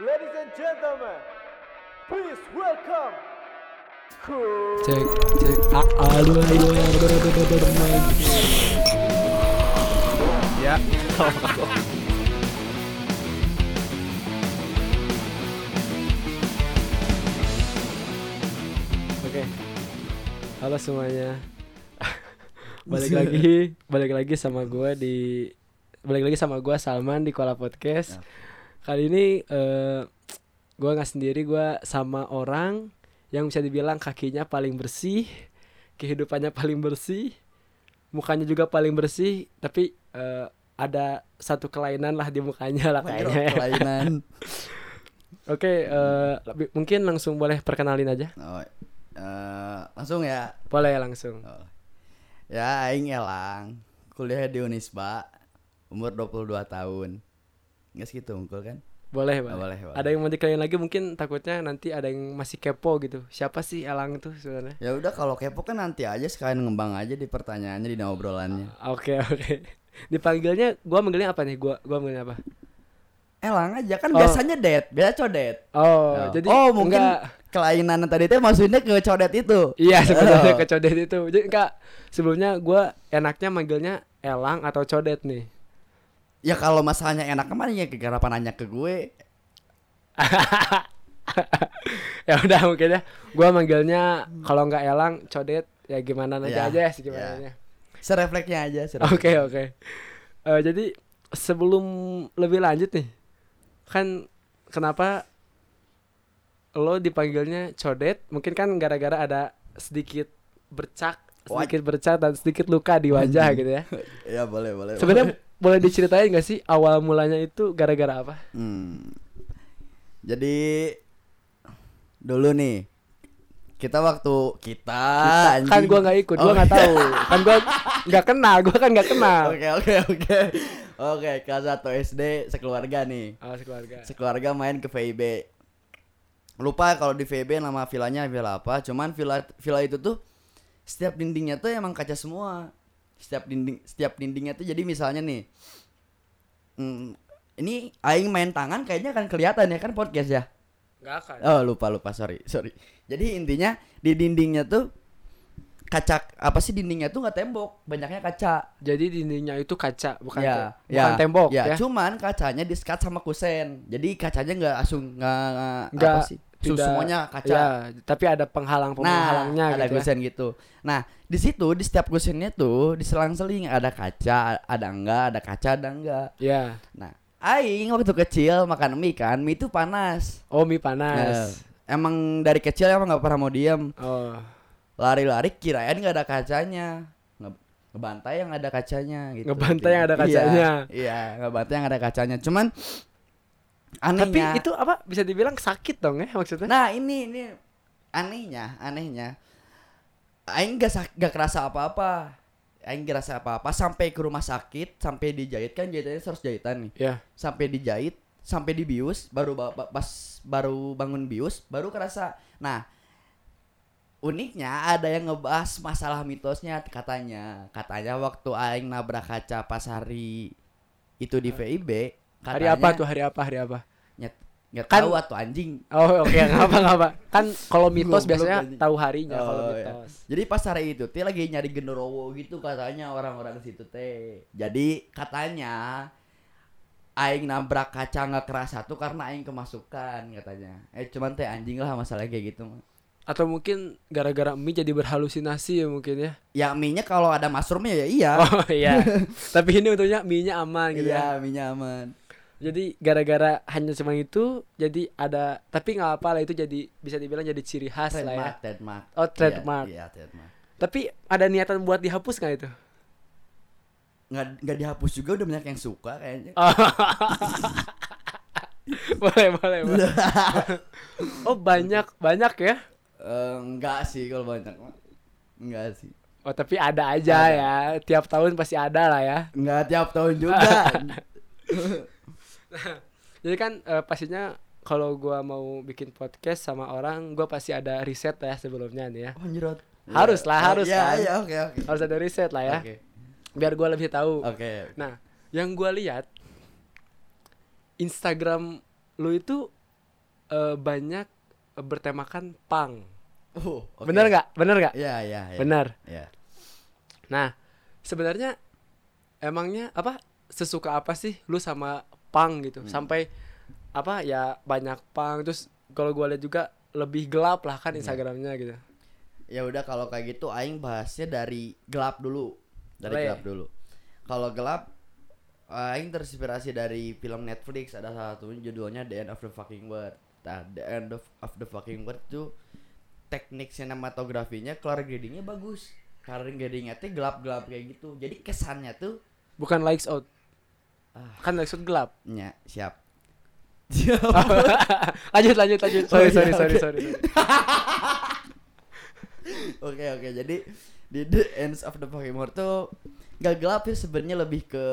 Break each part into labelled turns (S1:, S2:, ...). S1: Ladies and gentlemen, please welcome Cool.
S2: Cek, cek. A- aduh, aduh, aduh, aduh, aduh, aduh, aduh.
S3: Ya.
S2: Oke. Halo semuanya. balik lagi, balik lagi sama gua di balik lagi sama gua Salman di Kuala Podcast. Kali ini eh gua nggak sendiri, gua sama orang yang bisa dibilang kakinya paling bersih, kehidupannya paling bersih, mukanya juga paling bersih, tapi eh, ada satu kelainan lah di mukanya lah kayaknya. ya.
S3: Kelainan.
S2: Oke, eh, lebih- mungkin langsung boleh perkenalin aja.
S3: Oh, eh, langsung ya.
S2: Boleh langsung.
S3: Oh. Ya aing elang. Kuliah di Unisba. Umur 22 tahun. Nggak segitu unggul kan?
S2: Boleh, boleh.
S3: Oh, boleh, boleh.
S2: Ada yang mau dikelain lagi mungkin takutnya nanti ada yang masih kepo gitu. Siapa sih Elang tuh sebenarnya?
S3: Ya udah kalau kepo kan nanti aja sekalian ngembang aja di pertanyaannya di obrolannya.
S2: Oke, oke. Dipanggilnya gua manggilnya apa nih? Gua gua manggilnya apa?
S3: Elang aja kan
S2: Oh.
S3: biasanya det, biasa codet.
S2: Oh,
S3: Ya.
S2: jadi
S3: oh mungkin
S2: enggak-
S3: kelainan tadi teh maksudnya ke codet itu.
S2: Iya, sebenarnya
S3: Oh.
S2: ke Codet itu. Jadi enggak sebelumnya gua enaknya manggilnya Elang atau Codet nih.
S3: Ya kalau masalahnya enak kemana ya kenapa nanya ke gue?
S2: ya udah mungkin ya. Gua manggilnya kalau enggak Elang, Codet ya gimana nanti
S3: Ya,
S2: aja ya gimana Oh.
S3: ya. Serefleksnya aja, serefleks.
S2: Oke oke. Eh, jadi sebelum lebih lanjut nih, kan kenapa lo dipanggilnya codet? Mungkin kan gara-gara ada sedikit bercak,
S3: Waj-
S2: sedikit bercak dan sedikit luka di wajah gitu ya.
S3: ya boleh, boleh. boleh.
S2: Sebenarnya boleh diceritain gak sih awal mulanya itu gara-gara apa?
S3: Hmm. Jadi dulu nih kita waktu kita, Ah, iya.
S2: kan gua nggak ikut,
S3: Oh.
S2: gua nggak tahu. Kan gua nggak kenal, gua kan nggak kenal.
S3: Oke oke oke oke kelas 1 SD sekeluarga nih
S2: Awas keluarga.
S3: sekeluarga main ke VIB lupa kalau di VIB nama villanya villa apa cuman villa villa itu tuh setiap dindingnya tuh emang kaca semua setiap dinding setiap dindingnya tuh jadi misalnya nih hmm, ini aing main tangan kayaknya akan kelihatan ya kan podcast ya
S2: Nggak akan.
S3: Oh lupa lupa sorry sorry. Jadi intinya di dindingnya tuh kaca apa sih dindingnya tuh nggak tembok banyaknya kaca.
S2: Jadi dindingnya itu kaca, bukan
S3: ya,
S2: te- bukan tembok ya.
S3: Cuman kacanya diskat sama kusen. Jadi kacanya nggak langsung nggak nggak-
S2: Nggak,
S3: apa sih? Su-
S2: tidak-
S3: semuanya kaca.
S2: Ya, tapi ada penghalang
S3: Nah,
S2: penghalangnya
S3: ada
S2: gitu. ya.
S3: kusen gitu. Nah, di situ di setiap kusennya tuh diselang-seling ada kaca, ada enggak, ada kaca, ada enggak.
S2: Ya.
S3: Nah, aing waktu kecil makan mie kan, mie itu panas.
S2: Oh, mie
S3: Nah,
S2: panas.
S3: emang dari kecil emang nggak pernah mau diem
S2: Oh.
S3: lari-lari kirain nggak ada kacanya Nge- ngebantai yang ada kacanya gitu
S2: Ngebantai yang ada
S3: Iya,
S2: kacanya.
S3: iya, ngebantai yang ada kacanya cuman anehnya
S2: Tapi itu apa bisa dibilang sakit dong ya maksudnya?
S3: ya. nah ini ini anehnya anehnya aing gak, sak- gak kerasa apa-apa aing gak kerasa apa-apa sampai ke rumah sakit sampai dijahit kan jahitannya harus jahitan nih
S2: Ya.
S3: sampai dijahit sampai dibius baru ba- ba- pas baru bangun bius baru kerasa nah uniknya ada yang ngebahas masalah mitosnya katanya katanya waktu aing nabrak kaca pas hari itu di VIB
S2: Hari
S3: katanya-
S2: apa tuh? Hari apa? Hari apa?
S3: nyet nggak
S2: Kan-
S3: tahu atuh anjing
S2: Oh, oke, nggak apa nggak apa. Kan kalau mitos
S3: Goblok
S2: biasanya
S3: anjing.
S2: tahu harinya kalau
S3: Oh, iya.
S2: mitos.
S3: Jadi pas hari itu teh lagi nyari genderowo gitu katanya orang-orang situ teh. Jadi katanya aing nabrak kaca nggak kerasa tuh karena aing kemasukan katanya. Eh cuman teh anjing lah masalahnya kayak gitu.
S2: Atau mungkin gara-gara mie jadi berhalusinasi ya mungkin ya.
S3: Ya mie-nya kalau ada mushroomnya ya iya.
S2: Oh iya. Tapi ini untungnya mie-nya aman gitu ya.
S3: iya, mie-nya aman.
S2: Jadi gara-gara hanya cuma itu jadi ada tapi nggak apa lah itu jadi bisa dibilang jadi ciri khas lah ya.
S3: Trademark, trademark.
S2: Oh,
S3: Iya,
S2: trademark.
S3: Iya, trademark.
S2: Tapi ada niatan buat dihapus nggak itu?
S3: Nggak, nggak dihapus juga udah banyak yang suka kayaknya.
S2: Oh. boleh boleh boleh. Oh banyak banyak ya.
S3: Eh, enggak sih kalau banyak. mah. Enggak sih.
S2: Oh tapi ada aja
S3: Ada.
S2: ya. Tiap tahun pasti ada lah ya.
S3: Enggak tiap tahun juga.
S2: Jadi kan eh, pastinya kalau gua mau bikin podcast sama orang, gua pasti ada riset ya sebelumnya nih ya.
S3: Oh, nyerot.
S2: Harus lah,
S3: Oh,
S2: harus
S3: Iya,
S2: kan.
S3: iya, oke, oke.
S2: Harus ada riset lah ya.
S3: Oke.
S2: Biar gua lebih tahu.
S3: Oke.
S2: Nah, yang gua lihat Instagram lu itu eh, banyak eh, bertemakan pang.
S3: Oh, oke.
S2: Uh, Bener nggak? Bener nggak?
S3: Iya, iya, iya.
S2: Bener.
S3: Iya.
S2: Nah, sebenarnya emangnya apa sesuka apa sih lu sama pang gitu?
S3: Hmm.
S2: Sampai apa ya banyak pang terus kalau gua lihat juga lebih gelap lah kan
S3: Hmm.
S2: Instagramnya gitu.
S3: Ya udah kalau kayak gitu aing bahasnya dari gelap dulu. Dari
S2: Boleh.
S3: gelap dulu. Kalau gelap aing terinspirasi dari film Netflix ada salah satunya judulnya The End of the Fucking World. Nah, The End of, of the Fucking World tuh teknik sinematografinya color gradingnya bagus. Color gradingnya tuh gelap-gelap kayak gitu. Jadi kesannya tuh
S2: Bukan likes out.
S3: Ah.
S2: Kan likes out gelap.
S3: nya siap.
S2: lanjut lanjut lanjut. Sorry
S3: Oh,
S2: sorry
S3: iya,
S2: sorry
S3: oke.
S2: sorry. sorry.
S3: Oke oke jadi di The Ends of the Fucking World tuh gak gelap sih sebenarnya lebih ke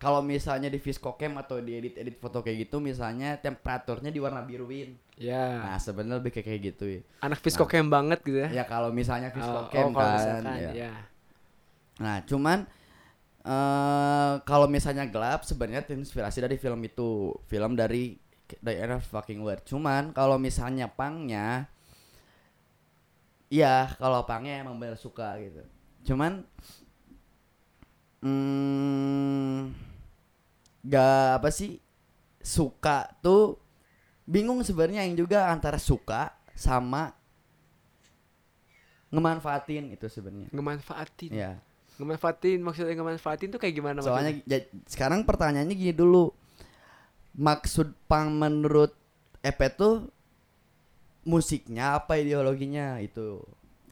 S3: kalau misalnya di Viscocam atau di edit edit foto kayak gitu misalnya temperaturnya di warna biruin.
S2: Ya.
S3: Nah sebenarnya lebih kayak kayak gitu ya.
S2: Anak fiskokem banget gitu ya.
S3: Ya kalau misalnya
S2: Oh, oh,
S3: Viscocam
S2: kalau
S3: kan.
S2: misalkan,
S3: ya.
S2: ya.
S3: Nah cuman eh kalau misalnya gelap sebenarnya inspirasi dari film itu film dari The End of Fucking World. Cuman kalau misalnya pangnya Iya, kalau pangnya emang bener suka gitu. Cuman hmm, gak apa sih suka tuh bingung sebenarnya yang juga antara suka sama ngemanfaatin itu sebenarnya.
S2: Ngemanfaatin.
S3: Iya.
S2: Ngemanfaatin maksudnya ngemanfaatin tuh kayak gimana
S3: Soalnya
S2: maksudnya?
S3: ja- sekarang pertanyaannya gini dulu. Maksud pang menurut Epe tuh musiknya apa ideologinya itu.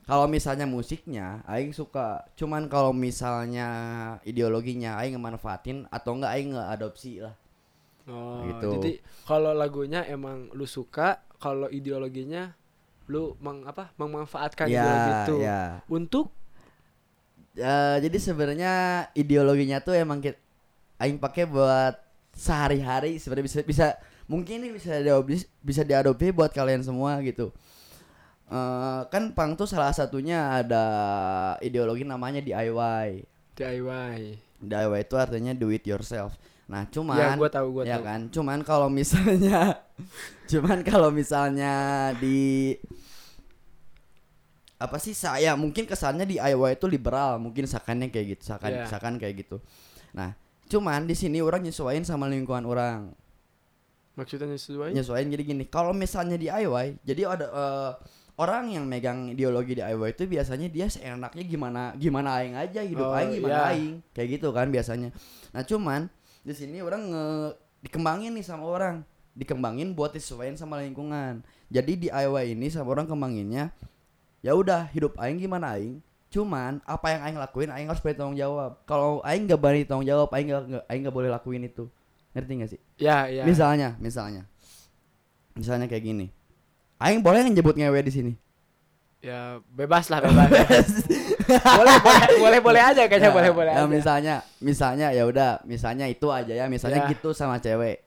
S3: Kalau misalnya musiknya aing suka, cuman kalau misalnya ideologinya aing ngemanfaatin atau enggak aing ngeadopsi lah.
S2: Oh,
S3: gitu.
S2: jadi kalau lagunya emang lu suka, kalau ideologinya lu meng apa memanfaatkan ideologi itu
S3: ya.
S2: untuk
S3: Eh, jadi sebenarnya ideologinya tuh emang kita aing pakai buat sehari-hari sebenarnya bisa bisa mungkin ini bisa diadopsi bisa diadopsi buat kalian semua gitu. Eh, kan pang tuh salah satunya ada ideologi namanya DIY.
S2: DIY.
S3: DIY itu artinya do it yourself. Nah, cuman
S2: Ya gua tahu gua
S3: ya
S2: tahu.
S3: kan cuman kalau misalnya cuman kalau misalnya di apa sih saya mungkin kesannya di Iowa itu liberal mungkin sakannya kayak gitu sakan
S2: Iya.
S3: sakan kayak gitu nah cuman di sini orang nyesuaiin sama lingkungan orang
S2: Maksudnya sesuai?
S3: nyesuaiin jadi gini kalau misalnya di DIY jadi ada eh, orang yang megang ideologi DIY itu biasanya dia seenaknya gimana gimana aing aja hidup
S2: Oh,
S3: aing gimana
S2: iya.
S3: aing kayak gitu kan biasanya nah cuman di sini orang nge- dikembangin nih sama orang dikembangin buat disesuaiin sama lingkungan jadi DIY ini sama orang kembanginnya ya udah hidup aing gimana aing cuman apa yang aing lakuin aing harus bertanggung jawab kalau aing gak berani tanggung jawab aing gak, gak- aing gak boleh lakuin itu ngerti gak sih
S2: Ya, ya.
S3: Misalnya, misalnya. Misalnya kayak gini. Aing boleh nyebut ngewe di sini.
S2: Ya bebas lah bebas. boleh, boleh, boleh, boleh aja kayaknya
S3: Ya,
S2: boleh, boleh. aja.
S3: ya, misalnya, misalnya ya udah, misalnya itu aja ya,
S2: Ya.
S3: misalnya gitu sama cewek.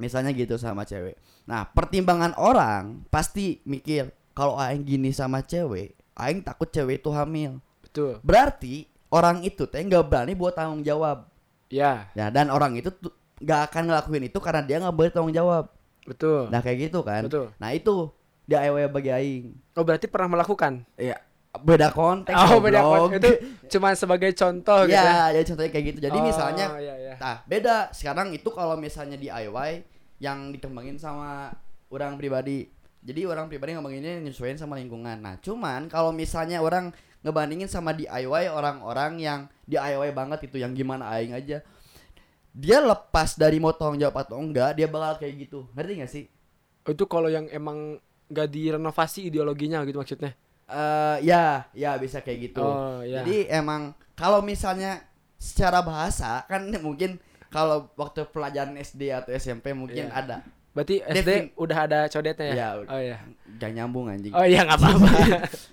S3: Misalnya gitu sama cewek. Nah, pertimbangan orang pasti mikir kalau aing gini sama cewek, aing takut cewek itu hamil.
S2: Betul.
S3: Berarti orang itu teh nggak berani buat tanggung jawab.
S2: Ya,
S3: Ya, dan orang itu tuh nggak akan ngelakuin itu karena dia nggak boleh tanggung jawab.
S2: betul.
S3: Nah, kayak gitu kan.
S2: Betul.
S3: Nah, itu DIY bagi aing.
S2: Oh, berarti pernah melakukan.
S3: Iya, beda konteks.
S2: Oh, beda
S3: goblok.
S2: Itu cuma sebagai contoh gitu. ya.
S3: Iya, jadi contohnya kayak gitu. Jadi
S2: Oh,
S3: misalnya
S2: ya, ya.
S3: nah, beda. Sekarang itu kalau misalnya DIY yang dikembangin sama orang pribadi. Jadi orang pribadi ngebanginnya nyesuaiin sama lingkungan. Nah, cuman kalau misalnya orang ngebandingin sama DIY orang-orang yang DIY banget itu yang gimana aing aja. Dia lepas dari mau tanggung jawab atau enggak, dia bakal kayak gitu. Ngerti gak sih?
S2: Itu kalau yang emang gak direnovasi ideologinya gitu maksudnya.
S3: eh ya, ya bisa kayak gitu.
S2: Oh, ya.
S3: Jadi emang kalau misalnya secara bahasa kan mungkin kalau waktu pelajaran SD atau SMP mungkin
S2: Iya.
S3: ada
S2: Berarti SD
S3: Defin-
S2: udah ada codetnya ya?
S3: Iya.
S2: Oh iya.
S3: gak nyambung anjing.
S2: Oh iya nggak apa-apa.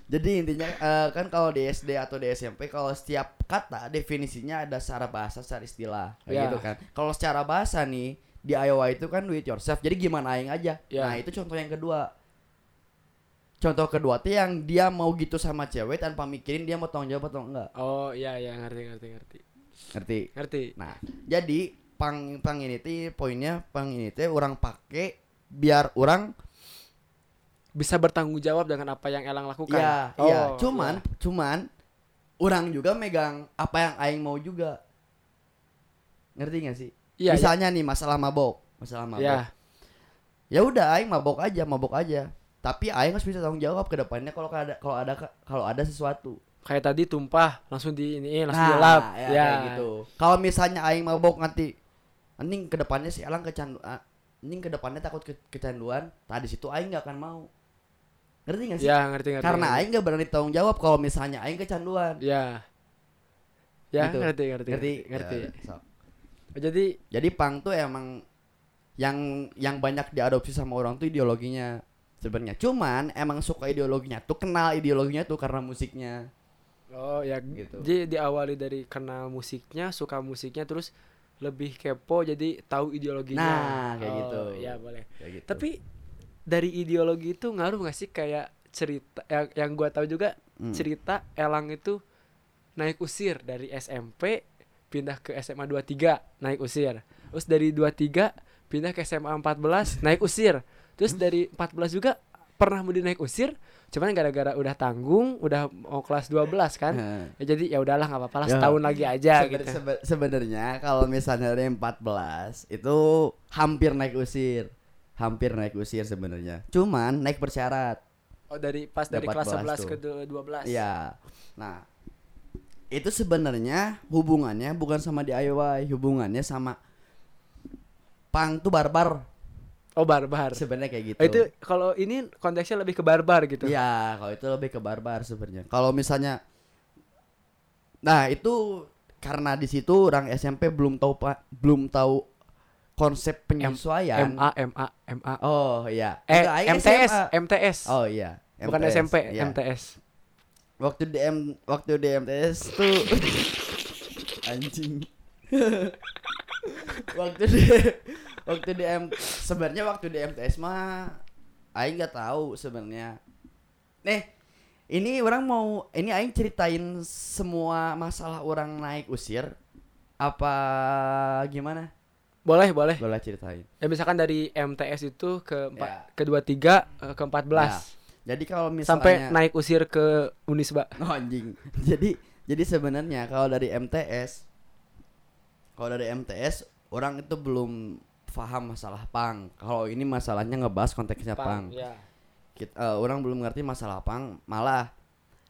S3: Jadi intinya eh, kan kalau di SD atau di SMP kalau setiap kata definisinya ada secara bahasa, secara istilah kayak
S2: Ya.
S3: gitu kan. Kalau secara bahasa nih di Iowa itu kan do it yourself. Jadi gimana aing aja.
S2: Ya.
S3: Nah, itu contoh yang kedua. Contoh kedua tuh yang dia mau gitu sama cewek tanpa mikirin dia mau tanggung jawab atau enggak.
S2: oh iya iya ngerti ngerti ngerti.
S3: Ngerti?
S2: Ngerti.
S3: Nah, jadi pang pang ini teh poinnya pang ini teh orang pakai biar orang
S2: bisa bertanggung jawab dengan apa yang Elang lakukan.
S3: ya
S2: Oh,
S3: ya cuman cuman orang juga megang apa yang aing mau juga ngerti gak sih
S2: Iya,
S3: misalnya nih masalah mabok masalah mabok
S2: ya.
S3: ya udah aing mabok aja mabok aja tapi aing harus bisa tanggung jawab ke depannya kalau ada kalau ada kalau ada sesuatu
S2: Kayak tadi tumpah langsung di ini langsung dilap. Iya.
S3: ya, kayak gitu kalau misalnya aing mabok nanti anjing ke depannya si Elang kecanduan anjing ah, ke depannya takut ke- kecanduan tadi situ aing nggak akan mau ngerti gak sih
S2: Ya, ngerti ngerti.
S3: karena
S2: ngerti.
S3: aing gak berani tanggung jawab kalau misalnya aing kecanduan
S2: ya. Ya,
S3: Gitu.
S2: ngerti ngerti. Ngerti. ngerti.
S3: Ya, so.
S2: Jadi
S3: jadi pang tuh emang yang yang banyak diadopsi sama orang tuh ideologinya sebenarnya cuman emang suka ideologinya tuh kenal ideologinya tuh karena musiknya
S2: oh ya
S3: Gitu.
S2: jadi diawali dari kenal musiknya, suka musiknya terus lebih kepo jadi tahu ideologinya.
S3: Nah, kayak
S2: Oh,
S3: gitu.
S2: Ya, boleh.
S3: Kayak gitu.
S2: Tapi dari ideologi itu ngaruh gak sih kayak cerita yang, yang gua tahu juga
S3: Hmm.
S2: cerita Elang itu naik usir dari SMP pindah ke SMA 23 naik usir. Terus dari 23 pindah ke SMA 14 naik usir. Terus
S3: Hmm.
S2: dari 14 juga pernah mau naik usir, cuman gara-gara udah tanggung, udah mau kelas 12 kan.
S3: Heeh.
S2: Ya jadi ya udahlah nggak apa-apa lah
S3: Iya. Ya.
S2: setahun lagi aja
S3: Seben-
S2: gitu.
S3: sebe- sebenarnya kalau misalnya dari 14 itu hampir naik usir hampir naik usir sebenarnya cuman naik bersyarat
S2: Oh dari pas dari
S3: Udah
S2: kelas
S3: 14
S2: 11 ke
S3: tuh.
S2: du- 12.
S3: Iya. Nah, itu sebenarnya hubungannya bukan sama DIY, hubungannya sama pang tuh barbar.
S2: Oh barbar.
S3: Sebenarnya kayak gitu.
S2: Oh, itu kalau ini konteksnya lebih ke barbar gitu.
S3: Iya, kalau itu lebih ke barbar sebenarnya. Kalau misalnya Nah, itu karena di situ orang SMP belum tahu pa- belum tahu konsep penyesuaian.
S2: MA MA MA.
S3: Oh, iya.
S2: Eh
S3: Enggak, aing
S2: MTS
S3: SMA.
S2: MTS.
S3: Oh, iya.
S2: Bukan
S3: MTS,
S2: SMP,
S3: iya.
S2: MTS.
S3: Waktu DM waktu di MTS tuh anjing. waktu di waktu di M sebenarnya waktu di MTS mah aing nggak tahu sebenarnya. Nih, ini orang mau ini aing ceritain semua masalah orang naik usir apa gimana?
S2: Boleh, boleh.
S3: Boleh ceritain.
S2: Ya misalkan dari MTS itu ke empat,
S3: Ya.
S2: ke 23 eh, ke 14
S3: Nah, jadi kalau misalnya
S2: sampai naik usir ke Unisba.
S3: Oh, anjing. Jadi jadi sebenarnya kalau dari MTS kalau dari MTS orang itu belum paham masalah pang. Kalau ini masalahnya ngebahas konteksnya pang.
S2: Ya.
S3: Kita, eh, orang belum ngerti masalah pang malah.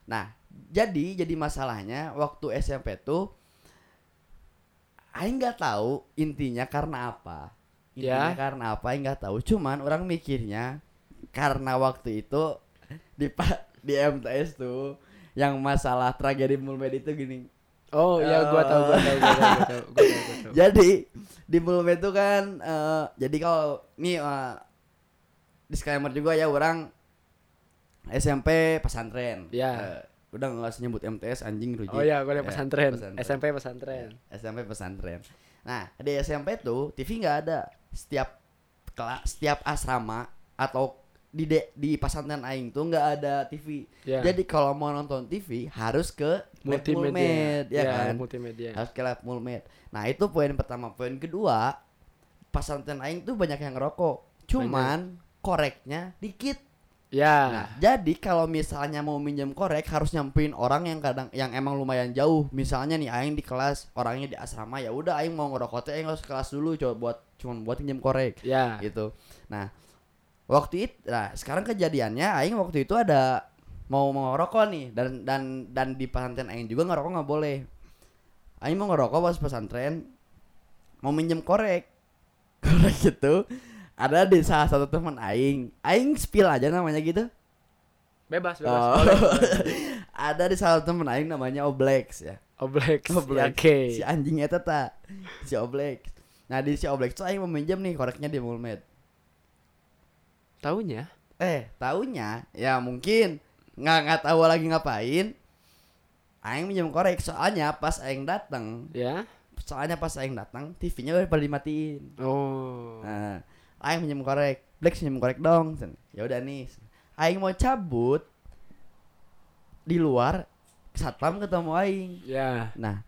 S3: Nah, jadi jadi masalahnya waktu SMP tuh aing nggak tahu intinya karena apa. Intinya
S2: Ya.
S3: karena apa aing nggak tahu. Cuman orang mikirnya karena waktu itu di pa- di MTS tuh yang masalah tragedi Mulmed itu gini.
S2: Oh, ya gua tahu gua tahu gua tahu. Gua tahu, gua tahu, gua tahu.
S3: Jadi di Mulmed itu kan eh, jadi kalau nih eh, disclaimer juga ya orang SMP pesantren.
S2: Ya.
S3: Eh, udah nggak usah nyebut MTS anjing rugi.
S2: Oh ya, gua
S3: Eh,
S2: lihat pesantren. SMP
S3: Iya.
S2: pesantren.
S3: SMP pesantren. Nah, di SMP tuh TV nggak ada. Setiap kela- setiap asrama atau di de- di pesantren aing tuh nggak ada TV.
S2: Ya.
S3: Jadi kalau mau nonton TV harus ke Lab
S2: Multimedia. Iya,
S3: Mulmed, ya, kan?
S2: multimedia.
S3: Harus ke Lab Mulmed. Nah, itu poin pertama. Poin kedua, pesantren aing tuh banyak yang ngerokok. Cuman koreknya dikit.
S2: Ya.
S3: Nah, jadi kalau misalnya mau minjem korek harus nyampein orang yang kadang yang emang lumayan jauh. Misalnya nih aing di kelas, orangnya di asrama, ya udah aing mau ngerokok teh aing harus ke kelas dulu coba buat cuman buat minjem korek
S2: Ya.
S3: gitu. Nah, waktu itu nah sekarang kejadiannya aing waktu itu ada mau mau ngerokok nih dan dan dan di pesantren aing juga ngerokok nggak boleh. Aing mau ngerokok pas pesantren mau minjem korek. Korek gitu ada di salah satu teman aing. Aing spill aja namanya gitu.
S2: Bebas, bebas.
S3: Oh.
S2: Boleh.
S3: ada di salah satu temen aing namanya Oblex ya.
S2: Oblek.
S3: Oblex.
S2: Oblek.
S3: Si anjing eta ta. Si Oblex. Nah, di si Oblex tuh aing meminjam nih koreknya di Mulmed.
S2: Taunya
S3: Eh, taunya ya mungkin nggak nggak tahu lagi ngapain. Aing minjem korek soalnya pas aing datang,
S2: ya.
S3: soalnya pas aing datang TV-nya udah pada dimatiin.
S2: Oh.
S3: Nah, aing minjem korek, Black minjem korek dong. Ya udah nih. Aing mau cabut di luar satpam ketemu aing.
S2: Ya.
S3: Nah,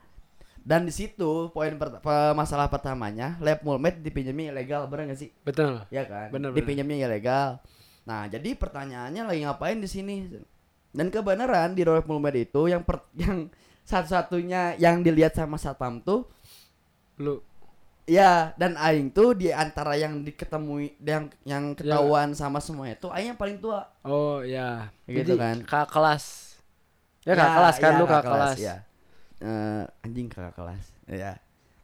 S3: Dan di situ poin per- pe- masalah pertamanya lab mulmet dipinjamnya ilegal bener gak sih?
S2: Betul.
S3: Ya kan?
S2: Bener, bener.
S3: Dipinjamnya ilegal. Nah, jadi pertanyaannya lagi ngapain di sini? Dan kebenaran di Rolf Mulmer itu yang per, yang satu-satunya yang dilihat sama satpam tuh
S2: Lu
S3: ya dan aing tuh di antara yang diketemui yang yang
S2: Ya.
S3: ketahuan sama semua itu aing yang paling tua.
S2: oh ya.
S3: Gitu kan.
S2: Kakak kelas. Ya kakak kelas kan
S3: ya,
S2: lu kakak kelas.
S3: ya. Eh, anjing kakak kelas. Ya.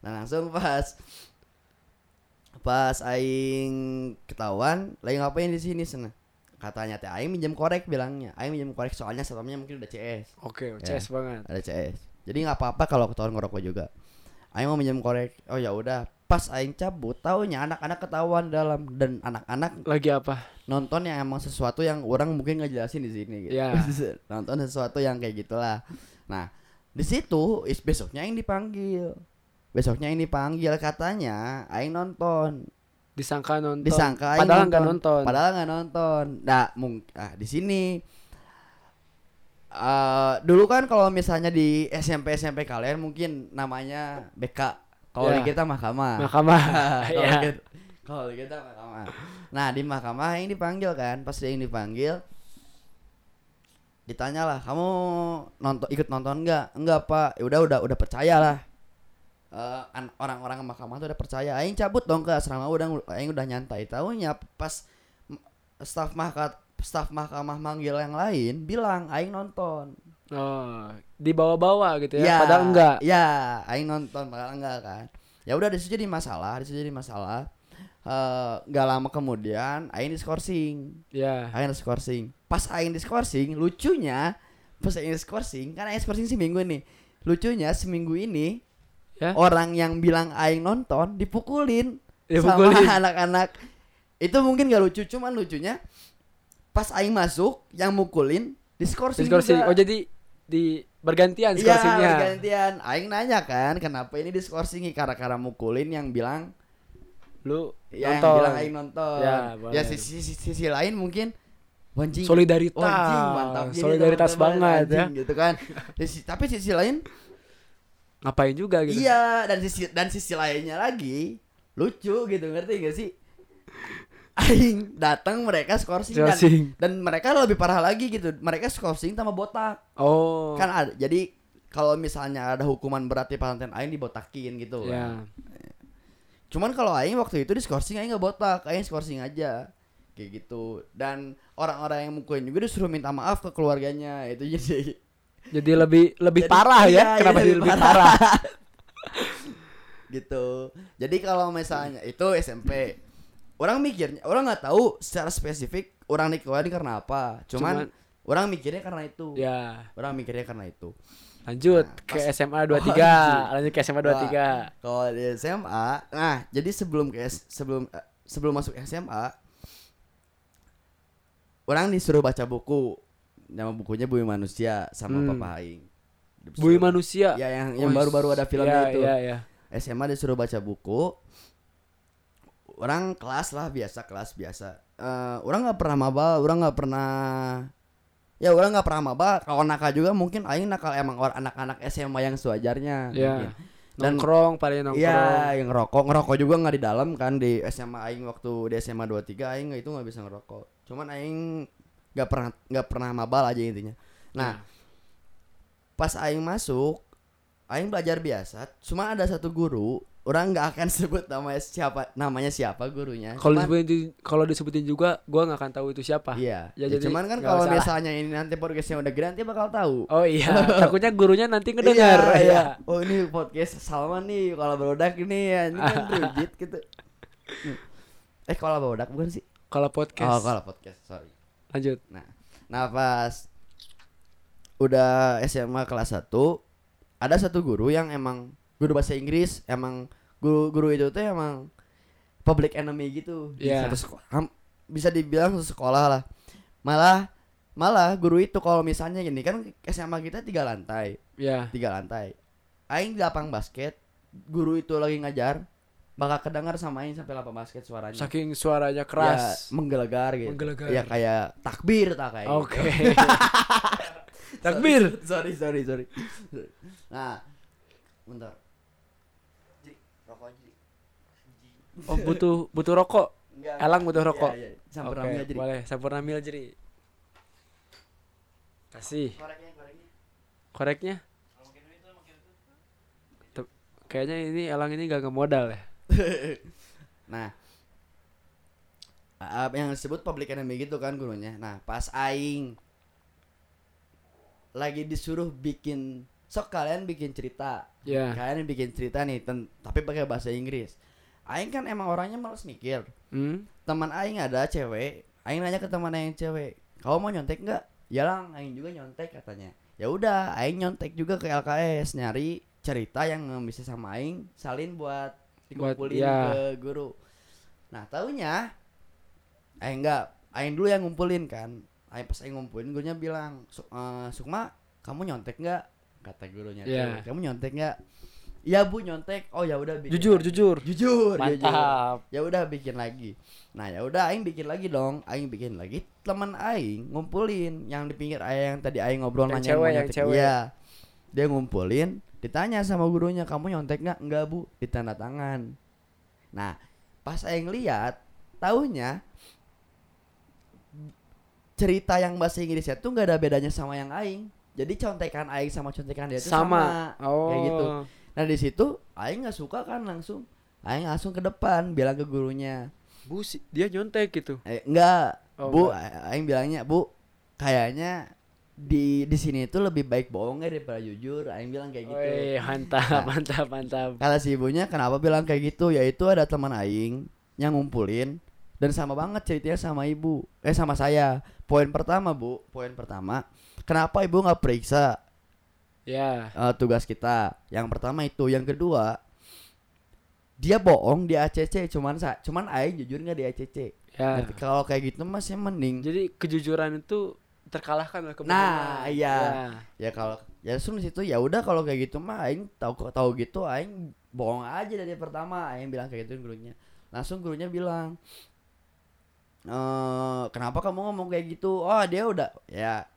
S3: Nah, langsung pas pas aing ketahuan lagi ngapain di sini sana. Katanya teh aing minjem korek bilangnya. Aing minjem korek soalnya sebelumnya mungkin udah CS.
S2: Oke,
S3: Ya.
S2: CS banget.
S3: Ada CS. Jadi nggak apa-apa kalau ketahuan ngerokok juga. Aing mau minjem korek. Oh ya udah. Pas aing cabut, taunya anak-anak ketahuan dalam dan anak-anak
S2: Lagi apa?
S3: nonton yang emang sesuatu yang orang mungkin nggak jelasin di sini gitu.
S2: Ya.
S3: nonton sesuatu yang kayak gitulah. Nah, di situ is besoknya yang dipanggil. Besoknya ini panggil katanya aing nonton.
S2: Disangka nonton.
S3: Disangka aing
S2: Padahal nggak nonton.
S3: Padahal nggak nonton. Nah, mung ah, di sini eh dulu kan kalau misalnya di SMP SMP kalian mungkin namanya BK. Kalau di
S2: Ya.
S3: kita mahkamah.
S2: Mahkamah.
S3: Kalau
S2: ya.
S3: kita- kalau kita mahkamah. Nah di mahkamah yang dipanggil kan, pas yang dipanggil ditanyalah kamu nonton ikut nonton nggak? Enggak pak, Ya udah udah udah percaya lah. Eh, an- orang-orang ke mahkamah tuh udah percaya. Aing cabut dong ke asrama udah aing udah nyantai. Taunya pas m- staf mahkamah staf mahkamah manggil yang lain bilang aing nonton.
S2: Oh, dibawa-bawa gitu ya. Padahal enggak.
S3: Ya, aing nonton padahal enggak kan. Ya udah di situ jadi masalah, di situ jadi masalah. Eh, Nggak lama kemudian aing diskorsing.
S2: Ya.
S3: Aing diskorsing. Pas aing diskorsing, lucunya pas aing diskorsing, kan aing diskorsing seminggu nih. Lucunya seminggu ini
S2: Ya.
S3: orang yang bilang aing nonton dipukulin,
S2: Iya, Dipukulin.
S3: sama anak-anak. Itu mungkin gak lucu, cuman lucunya pas aing masuk yang mukulin diskorsing.
S2: Diskorsing. Oh,
S3: juga.
S2: jadi di bergantian
S3: Iya
S2: skorsingnya.
S3: bergantian Aing nanya kan Kenapa ini diskorsing Kara-kara mukulin yang bilang
S2: Lu
S3: ya, Yang
S2: nonton.
S3: bilang Aing nonton
S2: Ya,
S3: Ya
S2: boleh.
S3: sisi, sisi, sisi lain mungkin Wanjing
S2: solidaritas.
S3: Wanjing mantap gini
S2: solidaritas
S3: teman-teman,
S2: banget ya.
S3: anjing," Gitu kan Di si- Tapi sisi lain
S2: Ngapain juga gitu.
S3: Iya dan sisi, dan sisi lainnya lagi Lucu gitu ngerti gak sih Aing datang mereka skorsing dan,
S2: Skorsing.
S3: dan mereka lebih parah lagi gitu Mereka skorsing sama botak
S2: Oh.
S3: kan ada jadi kalau misalnya ada hukuman berat di pesantren aing dibotakin gitu
S2: ya.
S3: kan. cuman kalau aing waktu itu di skorsing aing nggak botak aing skorsing aja kayak gitu dan orang-orang yang mukulin juga disuruh minta maaf ke keluarganya itu jadi
S2: Jadi lebih lebih
S3: Jadi-
S2: parah
S3: iya,
S2: ya. Kenapa
S3: jadi
S2: jadi
S3: lebih
S2: lebih parah?
S3: gitu jadi kalau misalnya itu SMP orang mikirnya orang nggak tahu secara spesifik orang dikeluarin karena apa
S2: Cuman-
S3: cuman, orang mikirnya karena itu
S2: ya.
S3: orang mikirnya karena itu
S2: Lanjut
S3: Nah,
S2: ke
S3: pas-
S2: SMA
S3: Oh,
S2: 23. Lanjut ke SMA 23.
S3: Nah, Kalau di SMA, nah jadi sebelum ke S- sebelum eh, sebelum masuk SMA, orang disuruh baca buku. Nama bukunya Bumi Manusia sama
S2: Hmm.
S3: Papa Aing. Disuruh-
S2: Bumi manusia.
S3: Ya yang
S2: Oh,
S3: yang baru-baru ada
S2: ya,
S3: filmnya itu.
S2: Ya, ya.
S3: SMA disuruh baca buku. Orang kelas lah biasa kelas biasa. Eh, orang nggak pernah maba, orang nggak pernah Ya orang nggak pernah maba, kalau nakal juga mungkin aing nakal emang orang anak-anak SMA yang sewajarnya.
S2: Ya.
S3: mungkin. Dan-
S2: Nongkrong paling nongkrong.
S3: Iya, yang ngerokok, ngerokok juga nggak di dalam kan di SMA aing waktu di SMA 23 aing itu nggak bisa ngerokok. Cuman aing nggak pernah nggak pernah mabal aja intinya. Nah,
S2: Hmm.
S3: pas aing masuk, aing belajar biasa. Cuma ada satu guru, orang nggak akan sebut namanya siapa namanya siapa gurunya.
S2: Kalau
S3: Cuman-
S2: disebutin kalau disebutin juga gua nggak akan tahu itu siapa.
S3: Iya.
S2: Ya,
S3: Ya,
S2: jadi
S3: cuman kan
S2: nggak
S3: kalau
S2: masalah.
S3: misalnya ini nanti podcastnya udah gede nanti bakal tahu.
S2: Oh iya, takutnya gurunya nanti ngedengar. ya.
S3: Iya, iya. Oh ini podcast Salman nih kalau berodak ini ya ini kan rujit gitu. Eh kalau berodak bukan sih?
S2: Kalau
S3: Oh
S2: podcast.
S3: kalau podcast sorry.
S2: Lanjut.
S3: Nah, nah pas udah SMA kelas 1 ada satu guru yang emang guru bahasa Inggris emang guru-guru itu tuh emang public enemy gitu di
S2: Iya.
S3: satu sekolah Ham- bisa dibilang satu sekolah lah malah malah guru itu kalau misalnya gini kan SMA kita tiga lantai
S2: Ya.
S3: tiga lantai aing di lapang basket guru itu lagi ngajar bakal kedengar sama aing sampai lapang basket suaranya
S2: Saking suaranya
S3: ya,
S2: keras.
S3: menggelegar gitu
S2: Menggelegar.
S3: ya kayak takbir tak kayak
S2: Oke. Takbir.
S3: sorry sorry sorry sorry. nah bentar
S2: Oh butuh butuh rokok.
S3: Enggak.
S2: Elang butuh rokok.
S3: Iya, iya.
S2: Oke,
S3: Sampurna mil jadi.
S2: boleh. Sampurna mil jadi. Kasih.
S3: Koreknya, koreknya.
S2: Koreknya? Tep- Kayaknya ini elang ini gak ngemodal ya.
S3: Nah, a- apa yang disebut public enemy gitu kan gurunya. Nah, pas aing lagi disuruh bikin sok kalian bikin cerita.
S2: Ya.
S3: Kalian bikin cerita nih ten- tapi pakai bahasa Inggris. Aing kan emang orangnya males mikir.
S2: Hmm?
S3: Teman aing ada cewek, aing nanya ke teman aing cewek, "Kamu mau nyontek nggak?" "Ya lang, aing juga nyontek," katanya. Ya udah, aing nyontek juga ke LKS nyari cerita yang bisa sama aing salin buat
S2: Buat-
S3: dikumpulin
S2: ya.
S3: ke guru. Nah, taunya aing enggak, aing dulu yang ngumpulin kan. Aing pas aing ngumpulin gurunya bilang, "Su- eh, "Sukma, kamu nyontek nggak?" kata gurunya.
S2: Ya.
S3: "Kamu nyontek nggak?" "Ya, Bu, nyontek." "Oh, ya udah bikin
S2: Jujur,
S3: lagi."
S2: jujur.
S3: Jujur, jujur
S2: Mantap.
S3: ya udah bikin lagi nah ya udah aing bikin lagi dong aing bikin lagi teman aing ngumpulin yang di pinggir aing yang tadi aing ngobrol
S2: Yang
S3: nanyain
S2: cewek,
S3: mau
S2: yang
S3: nyontek.
S2: cewek.
S3: Iya. dia ngumpulin ditanya sama gurunya kamu nyontek nggak nggak bu ditanda tangan nah pas aing lihat tahunya cerita yang bahasa Inggrisnya tuh nggak ada bedanya sama yang aing jadi contekan aing sama contekan dia tuh sama,
S2: Sama. Oh.
S3: kayak gitu Nah di situ Aing nggak suka kan langsung Aing langsung ke depan bilang ke gurunya
S2: Bu, si- dia nyontek gitu.
S3: eh, enggak
S2: Oh,
S3: bu A- Aing bilangnya bu kayaknya di di sini itu lebih baik bohongnya daripada jujur Aing bilang kayak gitu
S2: Weh, mantap, mantap, mantap.
S3: Kata si ibunya kenapa bilang kayak gitu Yaitu ada teman Aing yang ngumpulin Dan sama banget ceritanya sama ibu Eh sama saya Poin pertama bu Poin pertama Kenapa ibu nggak periksa
S2: Ya.
S3: eh, tugas kita. Yang pertama itu, yang kedua dia bohong di ACC cuman sa cuman aing jujur nggak di ACC.
S2: Ya.
S3: Ngerti? Kalau kayak gitu masih mending.
S2: Jadi kejujuran itu terkalahkan oleh
S3: Nah,
S2: kebenaran.
S3: iya.
S2: Ya.
S3: Ya kalau ya langsung di situ ya udah kalau kayak gitu mah aing tahu tahu gitu aing bohong aja dari pertama aing bilang kayak gitu gurunya. Langsung gurunya bilang eh kenapa kamu ngomong kayak gitu? Oh, dia udah ya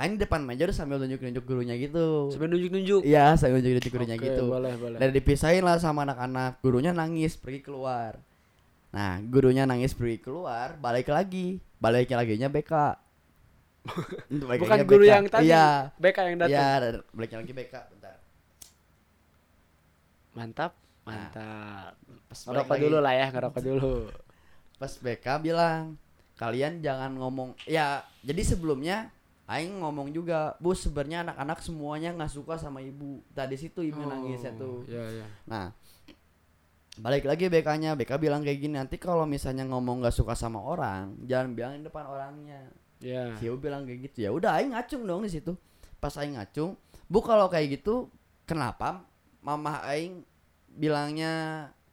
S3: aing depan meja udah sambil nunjuk-nunjuk gurunya gitu.
S2: Sampai nunjuk-nunjuk.
S3: Iya, sambil nunjuk-nunjuk gurunya
S2: Oke,
S3: gitu.
S2: Boleh, boleh.
S3: Dan dipisahin lah sama anak-anak Gurunya nangis pergi keluar Nah gurunya nangis pergi keluar Balik lagi Baliknya lagi nya BK Baliknya
S2: Bukan
S3: BK.
S2: guru yang tadi.
S3: Iya
S2: BK yang
S3: Iya
S2: datang.
S3: dan baliknya lagi BK Bentar
S2: Mantap,
S3: Nah.
S2: mantap.
S3: Pas balik
S2: Ngerokok
S3: lagi-
S2: dulu lah ya, ngerokok dulu.
S3: Pas BK bilang Kalian jangan ngomong Ya jadi sebelumnya Aing ngomong juga Bu sebenarnya anak-anak semuanya nggak suka sama ibu Tadi situ ibu nangisnya
S2: Oh,
S3: tuh
S2: Iya, iya.
S3: Nah, balik lagi BK-nya. BK bilang kayak gini, nanti kalau misalnya ngomong nggak suka sama orang, jangan bilang di depan orangnya.
S2: Iya.
S3: Si Yu bilang kayak gitu. Ya udah aing ngacung dong di situ. Pas aing ngacung, "Bu kalau kayak gitu, kenapa mamah aing bilangnya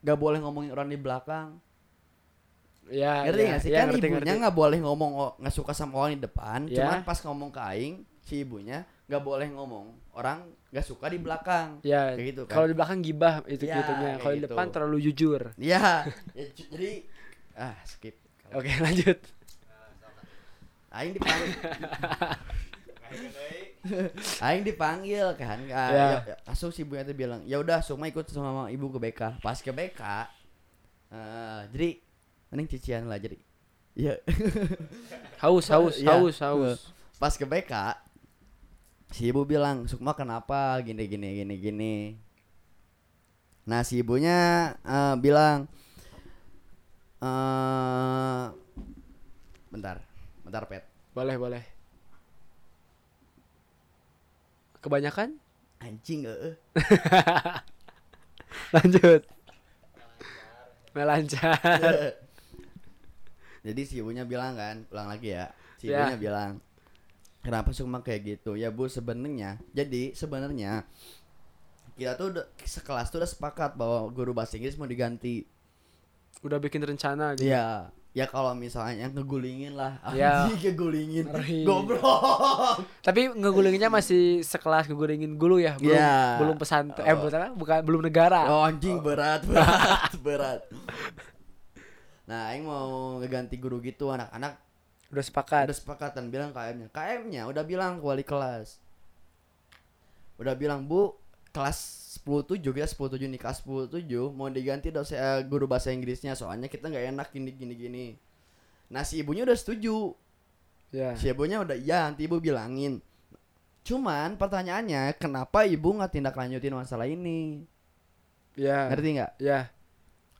S3: gak boleh ngomongin orang di belakang?"
S2: Iya.
S3: Ngerti
S2: iya,
S3: nggak sih?
S2: iya,
S3: kan
S2: ngerti,
S3: ibunya
S2: ngerti.
S3: nggak boleh ngomong o- nggak suka sama orang di depan,
S2: Ya.
S3: cuman pas ngomong ke aing, si ibunya nggak boleh ngomong orang nggak suka di belakang.
S2: Iya.
S3: Kayak gitu kan.
S2: Kalau di belakang gibah itu
S3: Iya,
S2: gitunya.
S3: kayak
S2: Kalau di
S3: gitu.
S2: depan terlalu jujur.
S3: Iya, ya, j- jadi ah skip.
S2: Oke, lanjut.
S3: Aing dipanggil. Aing dipanggil kan.
S2: Ya.
S3: Ah, ya- ya, Langsung si ibunya tuh bilang, "Ya udah, Sukma ikut sama ibu ke BK." Pas ke BK, eh, jadi mending cician lah jadi. Iya.
S2: Haus, haus,
S3: Iya.
S2: haus, haus.
S3: Pas ke BK, si ibu bilang, "Sukma kenapa gini gini gini gini?" Nah, si ibunya eh, bilang eh bentar, bentar pet.
S2: Boleh, boleh. Kebanyakan?
S3: Anjing eh, heeh.
S2: Lanjut. Melancar.
S3: Jadi si ibunya bilang kan, ulang lagi ya. Si
S2: Ya.
S3: ibunya bilang, kenapa cuma kayak gitu? Ya bu sebenarnya, jadi sebenarnya kita tuh udah- sekelas tuh udah sepakat bahwa guru bahasa Inggris mau diganti.
S2: Udah bikin rencana gitu.
S3: Iya. Ya kalau misalnya ngegulingin lah,
S2: Ya.
S3: anjing ngegulingin,
S2: Ngeri.
S3: goblok.
S2: Tapi ngegulinginnya masih sekelas ngegulingin gulu ya, belum
S3: Iya.
S2: belum pesantren eh
S3: Oh.
S2: bukan bukan belum negara.
S3: Oh, anjing berat berat berat. Nah, Aing mau ngeganti guru gitu anak-anak
S2: Udah sepakat.
S3: ada sepakatan bilang KM-nya. KM-nya udah bilang ke wali kelas. Udah bilang, "Bu, kelas 10-7 kita 10-7 nikah 10-7 mau diganti dosen eh, guru bahasa Inggrisnya soalnya kita nggak enak gini gini gini. Nah si ibunya udah setuju,
S2: Ya.
S3: si ibunya udah ya nanti ibu bilangin. Cuman pertanyaannya kenapa ibu nggak tindak lanjutin masalah ini?
S2: Ya.
S3: Ngerti nggak?
S2: Ya.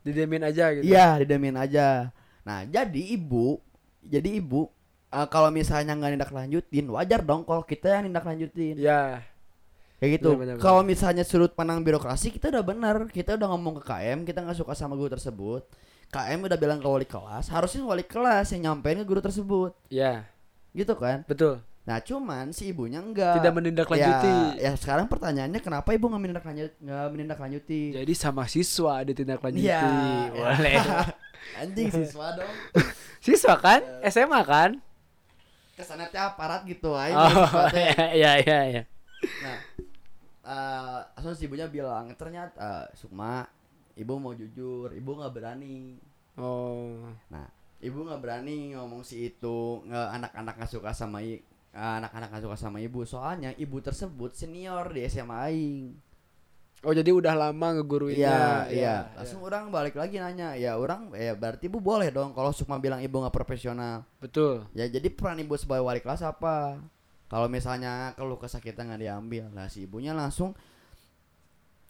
S2: Didiamin aja gitu.
S3: Iya, didamin aja. Nah, jadi ibu, jadi ibu eh, kalau misalnya nggak nindak lanjutin, wajar dong kalau kita yang nindak lanjutin.
S2: Ya.
S3: Kayak gitu.
S2: Iya, Benar, benar,
S3: Kalau misalnya sudut pandang birokrasi kita udah benar, kita udah ngomong ke KM, kita nggak suka sama guru tersebut. KM udah bilang ke wali kelas, harusnya wali kelas yang nyampein ke guru tersebut,
S2: Ya.
S3: gitu kan?
S2: Betul.
S3: Nah, cuman si ibunya enggak
S2: Tidak menindaklanjuti.
S3: Ya, ya sekarang pertanyaannya kenapa ibu nggak menindaklanjuti? Nggak menindaklanjuti?
S2: Jadi sama siswa ditindaklanjuti.
S3: Iya, iya.
S2: Boleh.
S3: Anjing siswa dong.
S2: siswa kan? SMA kan?
S3: Kesannya aparat gitu aja.
S2: Oh,
S3: siswa teh.
S2: ya ya ya. ya.
S3: Nah, eh langsung si ibunya bilang ternyata eh, Sukma, ibu mau jujur, ibu nggak berani.
S2: Oh.
S3: Nah, ibu nggak berani ngomong si itu nge- anak-anak nggak suka sama i- eh, anak-anak nggak suka sama ibu. Soalnya ibu tersebut senior di SMA Aing.
S2: Oh, jadi udah lama
S3: Iya,
S2: ngeguruinnya. Ya,
S3: iya. Langsung orang balik lagi nanya, ya orang, ya berarti ibu boleh dong kalau Sukma bilang ibu nggak profesional.
S2: Betul.
S3: Ya jadi peran ibu sebagai wali kelas apa? Kalau misalnya keluh kesah kita nggak diambil, nah si ibunya langsung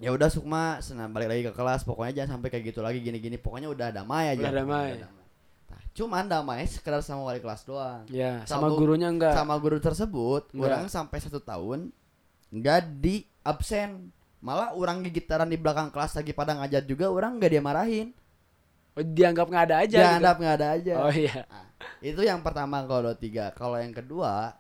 S3: ya udah Sukma senang balik lagi ke kelas, pokoknya jangan sampai kayak gitu lagi gini-gini, pokoknya udah damai aja.
S2: Udah damai.
S3: Nah, cuman damai sekedar sama wali kelas doang.
S2: Ya,
S3: Sama
S2: sama,
S3: guru-
S2: gurunya enggak.
S3: Sama guru tersebut,
S2: Nggak.
S3: orang sampai satu tahun nggak di absen, malah orang gigitaran di belakang kelas lagi pada ngajar juga, orang nggak dimarahin,
S2: Oh, dianggap nggak ada aja. gitu.
S3: jangan anggap Iya, nggak ada aja.
S2: Oh iya.
S3: Nah, itu yang pertama kalau 23. Kalau yang kedua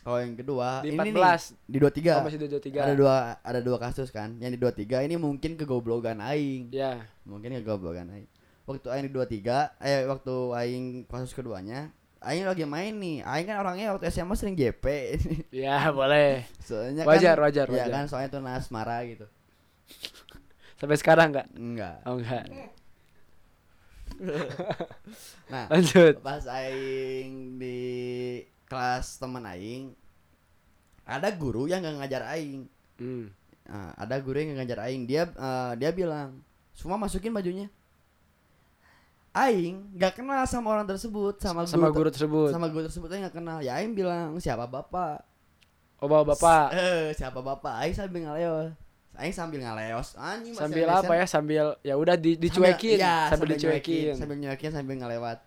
S3: kalau yang kedua
S2: Di
S3: ini nih,
S2: 14.
S3: di
S2: Oh,
S3: 23.
S2: masih 23.
S3: Ada dua ada dua kasus kan. Yang di 23 ini mungkin kegoblogan aing.
S2: Ya.
S3: Mungkin kegoblogan aing. Waktu aing di 23, eh waktu aing kasus keduanya, aing lagi main nih. Aing kan orangnya waktu SMA sering JP.
S2: Ya, boleh.
S3: soalnya
S2: Wajar,
S3: kan,
S2: wajar,
S3: ya
S2: wajar.
S3: kan soalnya itu asmara gitu.
S2: Sampai sekarang enggak?
S3: Enggak.
S2: Oh, enggak.
S3: Nah,
S2: Lanjut.
S3: pas aing di kelas temen aing ada guru yang nggak ngajar aing
S2: Hmm.
S3: Nah, ada guru yang nggak ngajar aing dia eh, dia bilang semua masukin bajunya aing nggak kenal sama orang tersebut sama,
S2: Sama
S3: guru,
S2: guru
S3: ter-
S2: tersebut.
S3: sama guru tersebut aing nggak kenal ya aing bilang siapa bapak
S2: Oh, bawa bapak.
S3: eh siapa bapak aing sambil ngaleos aing sambil ngaleos anjing eh, masih
S2: Sambil
S3: ngelesan.
S2: apa ya? Sambil ya udah di-
S3: Sambil-
S2: dicuekin,
S3: iya,
S2: sambil, dicuekin.
S3: sambil nyuekin sambil ngelewat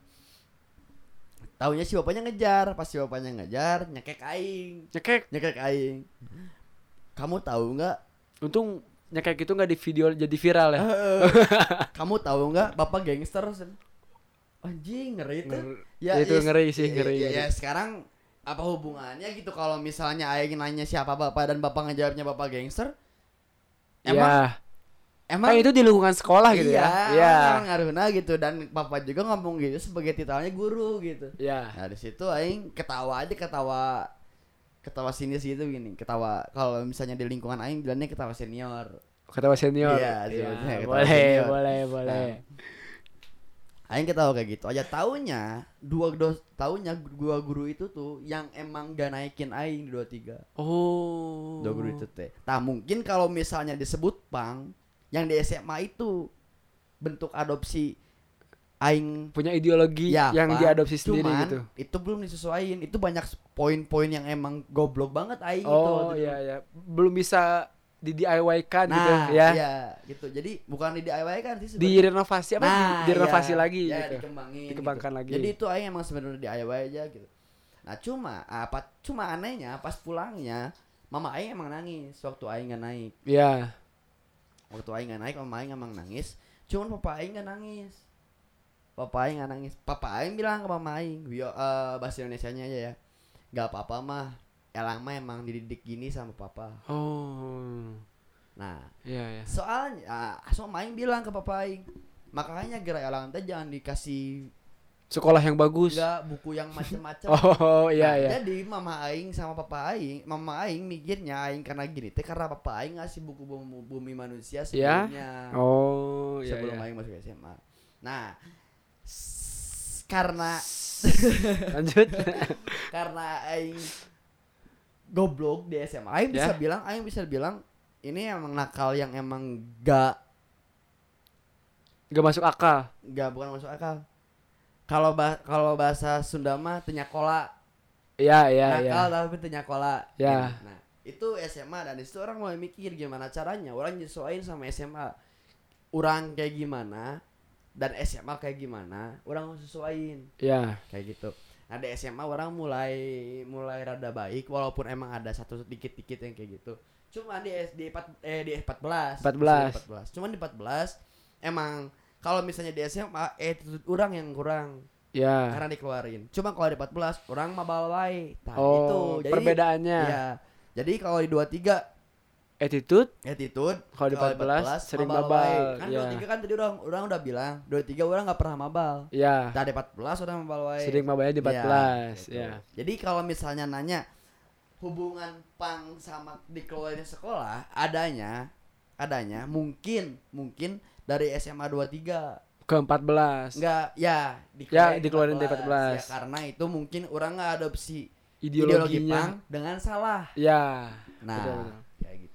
S3: Taunya si bapaknya ngejar pas si bapaknya ngejar nyekek aing
S2: Nyekek.
S3: nyekek aing kamu tahu nggak
S2: Untung nyekek itu nggak di video jadi viral
S3: Eh,
S2: ya.
S3: kamu tahu nggak bapak gangster sen. anjing ngeri itu
S2: Nger- itu ngeri sih, ngeri,
S3: ya,
S2: ngeri.
S3: ya, sekarang apa hubungannya gitu kalau misalnya aing nanya siapa bapak dan bapak ngejawabnya bapak gangster emang
S2: ya.
S3: emang
S2: Kan itu di lingkungan sekolah gitu
S3: iya,
S2: ya. Iya.
S3: emang ngaruhna gitu dan bapak juga ngomong gitu sebagai titelnya guru gitu
S2: Iya.
S3: Nah di situ aing ketawa aja ketawa ketawa sinis gitu gini ketawa kalau misalnya di lingkungan aing bilangnya ketawa senior
S2: Ketawa senior.
S3: Iya, sebutnya ketawa
S2: boleh,
S3: senior. Nah.
S2: boleh, boleh.
S3: aing ketawa kayak gitu aja taunya dua dos taunya dua guru itu tuh yang emang gak naikin aing di dua tiga
S2: Oh.
S3: dua guru itu teh nah mungkin kalau misalnya disebut pang yang di SMA itu bentuk adopsi aing
S2: punya ideologi
S3: Ya,
S2: yang
S3: Pak.
S2: diadopsi sendiri
S3: Cuman,
S2: gitu.
S3: Itu belum disesuaiin. Itu banyak poin-poin yang emang goblok banget aing itu
S2: Oh
S3: gitu waktu itu.
S2: iya ya, belum bisa di DIY kan
S3: Nah,
S2: gitu ya.
S3: iya, gitu. Jadi bukan di DIY kan sih sebenarnya.
S2: Direnovasi apa? di- direnovasi
S3: iya.
S2: lagi
S3: Ya,
S2: gitu.
S3: dikembangin.
S2: Dikembangkan
S3: gitu.
S2: lagi.
S3: Jadi itu aing emang sebenarnya DIY aja gitu. Nah, cuma apa cuma anehnya pas pulangnya mama aing emang nangis waktu aing gak naik.
S2: Iya.
S3: Waktu aing gak naik mama aing emang nangis. Cuman papa aing gak nangis. Papa aing gak nangis. Papa aing bilang ke mama aing, "Yo, eh, bahasa Indonesianya aja ya. Gak apa-apa mah. Elang mah emang dididik gini sama papa."
S2: Oh.
S3: Nah,
S2: Iya ya.
S3: soalnya ah, so main bilang ke papa aing makanya gerai alang teh jangan dikasih
S2: Sekolah yang bagus.
S3: enggak buku yang macem-macem
S2: Oh iya
S3: Nah,
S2: ya.
S3: jadi mama aing sama papa aing mama aing mikirnya aing karena gini teh karena papa aing ngasih buku bumi, bumi manusia
S2: Ya?
S3: sebelumnya
S2: Oh iya.
S3: sebelum
S2: iya.
S3: aing masuk SMA nah s- karena
S2: Lanjut.
S3: karena aing goblok di SMA aing
S2: Ya?
S3: bisa bilang aing bisa bilang ini emang nakal yang emang gak
S2: Gak masuk akal.
S3: gak bukan masuk akal. Kalau ba- kalau bahasa Sunda mah tenyakola
S2: Iya, iya, iya.
S3: nakal tapi tenyakola.
S2: Ya.
S3: Nah, itu SMA dan di situ orang mulai mikir gimana caranya orang nyesuaiin sama SMA. Orang kayak gimana dan SMA kayak gimana, orang sesuaiin
S2: Iya.
S3: kayak gitu. Nah, di SMA orang mulai mulai rada baik walaupun emang ada satu dikit-dikit yang kayak gitu. Cuma di S- di 4 eh di 14.
S2: 14.
S3: Di 14. Cuman di 14 emang kalau misalnya di SMA eh orang yang kurang
S2: Iya.
S3: karena dikeluarin. Cuma kalau di 14 orang mah balai. Nah, itu.
S2: Oh, perbedaannya.
S3: Iya. Jadi kalau di 23
S2: Attitude
S3: attitude
S2: Kalau di 14, sering mabal,
S3: mabalai. Kan
S2: iya.
S3: 23 kan tadi orang orang udah bilang 23 orang nggak pernah mabal.
S2: ya.
S3: Nah, di 14 orang mabal wae.
S2: Sering mabalnya di 14,
S3: gitu.
S2: ya.
S3: Jadi kalau misalnya nanya hubungan pang sama dikeluarin sekolah adanya adanya mungkin mungkin dari SMA 23
S2: Ke 14.
S3: enggak ya
S2: Ya, dikeluarin dari 14.
S3: Ya, karena itu mungkin orang nggak adopsi ideologi
S2: Ideologinya.
S3: pang dengan salah
S2: Ya.
S3: nah
S2: betul, betul.
S3: kayak gitu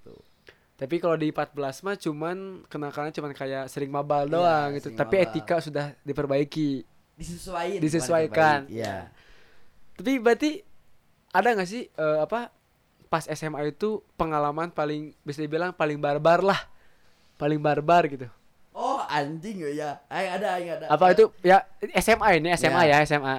S2: Tapi kalau di 14 mah cuman kenakalannya cuman kayak sering mabal
S3: Iya,
S2: doang gitu.
S3: sering
S2: Tapi
S3: mabal.
S2: etika sudah diperbaiki.
S3: disesuaikan
S2: Disesuaikan.
S3: ya
S2: Tapi berarti ada nggak sih eh, apa pas SMA itu pengalaman paling bisa dibilang paling barbar lah. Paling barbar gitu.
S3: oh anjing ya Ay, ada ay, ada
S2: Apa itu ya SMA ini SMA
S3: Ya.
S2: ya SMA.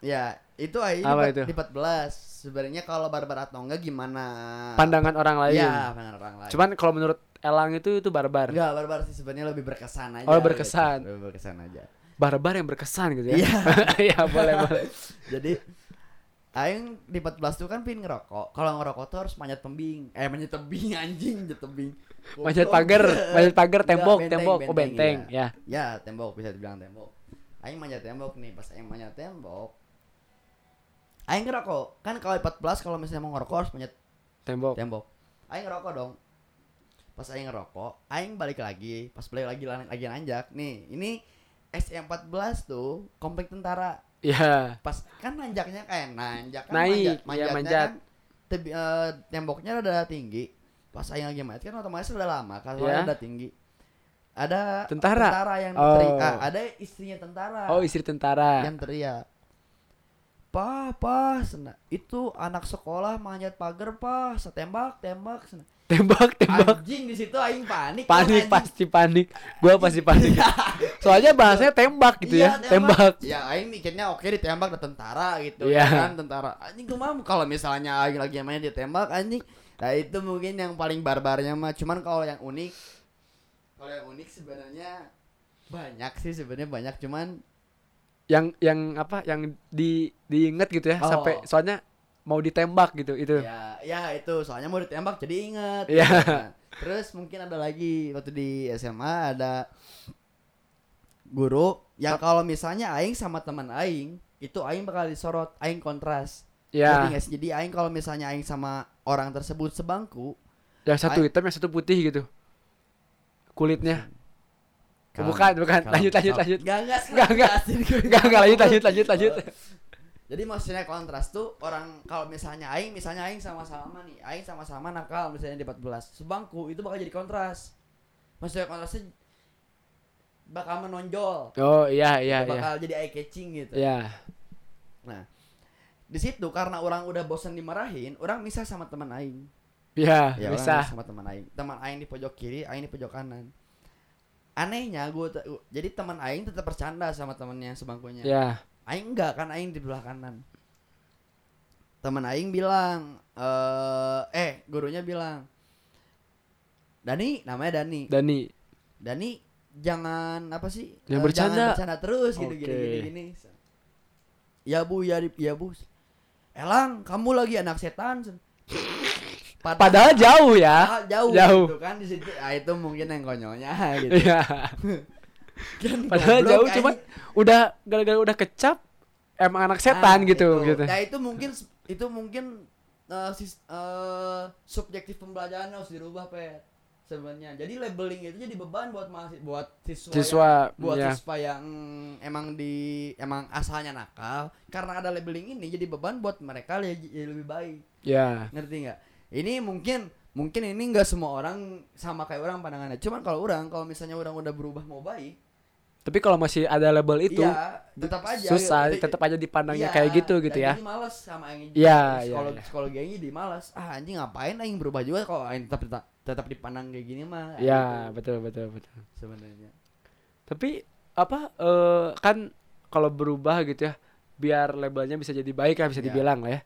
S3: Ya, itu aja
S2: Apa
S3: di,
S2: itu?
S3: di 14. Sebenarnya kalau barbar atau enggak gimana? Ah.
S2: Pandangan orang lain.
S3: Iya, pandangan orang lain.
S2: Cuman kalau menurut Elang itu itu barbar.
S3: enggak barbar sih sebenarnya lebih berkesan aja.
S2: Oh, berkesan.
S3: gitu. Lebih berkesan aja.
S2: Barbar yang berkesan gitu ya.
S3: Iya.
S2: Iya, boleh boleh.
S3: Jadi Aing di 14 tuh kan pin ngerokok. Kalau ngerokok tuh harus manjat tebing. Eh manjat tebing anjing, manjat tebing.
S2: Manjat
S3: Goblok.
S2: pagar, manjat pagar,
S3: Enggak,
S2: tembok,
S3: benteng,
S2: tembok, oh benteng,
S3: iya.
S2: ya.
S3: Ya, tembok bisa dibilang tembok. Aing manjat tembok nih, pas aing manjat tembok. Aing ngerokok. Kan kalau 14 kalau misalnya mau ngerokok harus manjat
S2: Tembok.
S3: tembok aing ngerokok dong pas aing ngerokok aing balik lagi pas balik lagi lan- lagi nanjak nih ini SM14 tuh komplek tentara
S2: Iya.
S3: pas kan nanjaknya kayak nanjak kan
S2: Naik,
S3: manjat,
S2: iya,
S3: manjaknya
S2: manjat.
S3: kan tebi- eh, temboknya rada tinggi pas aing lagi main kan otomatis udah lama kalau
S2: Iya.
S3: rada tinggi ada
S2: Tentara?
S3: yang
S2: Oh.
S3: teriak ah, ada istrinya tentara
S2: Oh, istri tentara.
S3: yang teriak Pah, pah, sena. itu anak sekolah manjat pagar, pah, setembak, tembak, sena.
S2: Tembak, tembak.
S3: Anjing di situ aing
S2: panik
S3: panik. kan, anjing. Ya.
S2: pasti panik gua pasti panik soalnya bahasanya tembak gitu ya
S3: Iya,
S2: tembak
S3: Ya aing mikirnya oke ditembak ada tentara gitu
S2: Iya.
S3: ya kan tentara. Anjing gua mau kalau misalnya aing lagi main ditembak anjing. Nah itu mungkin yang paling barbarnya mah. Cuman kalau yang unik kalau yang unik sebenarnya banyak sih sebenarnya banyak cuman
S2: yang yang apa yang di diinget gitu ya
S3: Oh.
S2: sampai soalnya mau ditembak gitu itu
S3: ya ya itu soalnya mau ditembak jadi inget
S2: Iya.
S3: Nah, terus mungkin ada lagi waktu di SMA ada guru yang kalau misalnya aing sama teman aing itu aing bakal disorot aing kontras Ngerti
S2: ya
S3: nggak sih? jadi aing kalau misalnya aing sama orang tersebut sebangku
S2: yang satu hitam yang satu putih gitu kulitnya
S3: Kalem,
S2: bukan bukan
S3: kalem,
S2: lanjut lanjut
S3: kalem.
S2: lanjut
S3: kan, Nggak, nggak,
S2: Nggak, nggak.
S3: jelasin gue.
S2: Nggak, nggak, lanjut, lanjut, lanjut, lanjut.
S3: Jadi maksudnya kontras tuh orang kalau misalnya aing misalnya aing sama-sama nih, aing sama-sama nakal misalnya di 14. Sebangku itu bakal jadi kontras. Maksudnya kontrasnya bakal menonjol.
S2: oh iya iya iya
S3: bakal jadi eye catching gitu.
S2: ya
S3: Nah, di situ karena orang udah bosan dimarahin, orang misah sama teman aing.
S2: ya
S3: ya, orang
S2: bisa
S3: sama teman aing teman aing di pojok kiri aing di pojok kanan anehnya gue jadi teman aing tetap bercanda sama temannya sebangkunya
S2: ya
S3: aing enggak kan aing di belah kanan teman aing bilang eh eh gurunya bilang Dani namanya Dani
S2: Dani
S3: Dani jangan apa sih
S2: Jangan
S3: eh,
S2: bercanda.
S3: jangan bercanda terus gitu gini
S2: Oke.
S3: gini gini ya bu ya Dip, ya bu Elang kamu lagi anak setan
S2: padahal jauh ya
S3: Ah, jauh,
S2: Jauh.
S3: gitu kan di situ ah, itu mungkin yang konyolnya gitu
S2: Iya.
S3: Kan
S2: padahal
S3: goblok,
S2: jauh
S3: anjing.
S2: cuman udah gara-gara udah kecap emang anak setan
S3: Ah,
S2: gitu
S3: itu.
S2: gitu
S3: nah itu mungkin itu mungkin eh, sis- eh, subjektif pembelajaran harus dirubah pet sebenarnya jadi labeling itu jadi beban buat mahasiswa buat siswa, yang-
S2: siswa
S3: buat
S2: ya.
S3: siswa yang emang di emang asalnya nakal karena ada labeling ini jadi beban buat mereka jadi jadi lebih baik
S2: ya
S3: ngerti nggak ini mungkin mungkin ini nggak semua orang sama kayak orang pandangannya cuman kalau orang kalau misalnya orang udah berubah mau baik
S2: Tapi kalau masih ada label itu
S3: iya tetap aja
S2: susah,
S3: gitu.
S2: tetap aja dipandangnya
S3: Iya,
S2: kayak gitu gitu
S3: dan
S2: ya.
S3: jadi malas sama anjing
S2: Iya, iya,
S3: kalau
S2: iya.
S3: kalau gini di malas ah anjing ngapain anjing berubah juga kalau anjing tetap tetap, tetap dipandang kayak gini mah ah,
S2: Iya,
S3: gitu
S2: betul betul betul.
S3: sebenarnya
S2: Tapi apa eh, kan kalau berubah gitu ya, biar labelnya bisa jadi baik lah bisa
S3: Iya.
S2: dibilang lah ya.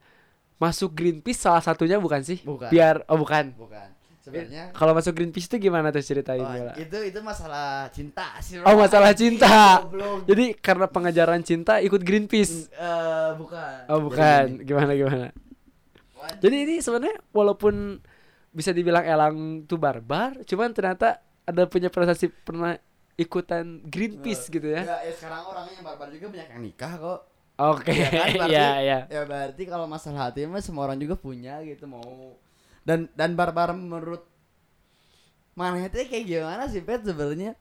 S2: Masuk Greenpeace salah satunya bukan sih?
S3: Bukan.
S2: Biar oh bukan.
S3: bukan sebenarnya
S2: Kalau masuk Greenpeace itu gimana tuh ceritain
S3: oh,
S2: Bella?
S3: itu itu masalah cinta sih
S2: Iya.
S3: Eh,
S2: Oh, masalah cinta.
S3: Goblok.
S2: Jadi karena pengejaran cinta ikut Greenpeace.
S3: Eh, bukan
S2: Oh
S3: Jadi
S2: bukan,
S3: gini.
S2: gimana gimana.
S3: What?
S2: Jadi ini sebenarnya walaupun bisa dibilang Elang tuh barbar, cuman ternyata ada punya prestasi pernah ikutan Greenpeace gitu ya.
S3: Ya, ya, sekarang orangnya yang barbar juga banyak yang nikah kok.
S2: Oke,
S3: Ya kan, berarti-
S2: iya iya.
S3: Ya berarti kalau masalah hati mah semua orang juga punya gitu mau. Dan dan barbar menurut Manhete kayak gimana sih Pet sebenarnya?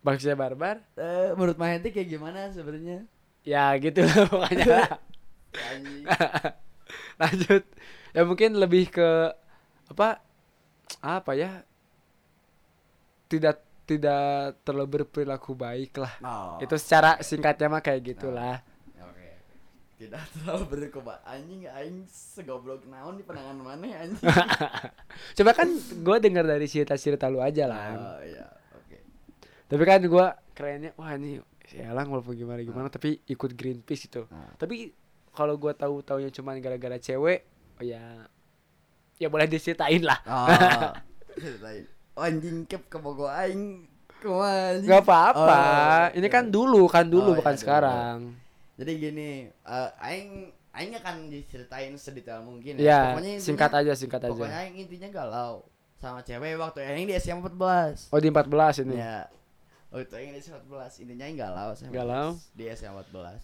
S2: Maksudnya barbar?
S3: Eh, menurut Manhete kayak gimana sebenarnya?
S2: Ya gitu lah pokoknya. lah.
S3: Anjing.
S2: Lanjut. Ya mungkin lebih ke apa? Apa ya? Tidak tidak terlalu berperilaku baik lah.
S3: Oh,
S2: Itu secara singkatnya mah kayak gitulah.
S3: ya, Oke. oke. Tidak terlalu berkebak anjing aing segoblok naon di pandangan mana anjing.
S2: Nah. Coba kan gue dengar dari cerita-cerita lu aja lah.
S3: Oh iya, oke.
S2: Tapi kan gua kerennya wah ini si Elang walaupun gimana gimana
S3: Hmm.
S2: tapi ikut Greenpeace itu.
S3: Ah.
S2: Tapi kalau gua tahu taunya cuman gara-gara cewek, oh ya ya boleh diceritain lah.
S3: Oh. lain. Oh, anjing kep kebogo aing. Oh, Kemana?
S2: Gak apa-apa. ini kan dulu kan dulu
S3: iya. Oh,
S2: bukan
S3: iya, dulu.
S2: sekarang.
S3: Jadi gini, eh, aing aing akan diceritain sedetail mungkin
S2: Ya,
S3: Pokoknya intinya-
S2: singkat aja singkat
S3: Pokoknya
S2: aja.
S3: aing intinya galau sama cewek waktu aing di SMA 14.
S2: Oh di 14 ini.
S3: Ya. Waktu aing di SMA 14, intinya aing galau sama
S2: Galau.
S3: di SMA 14.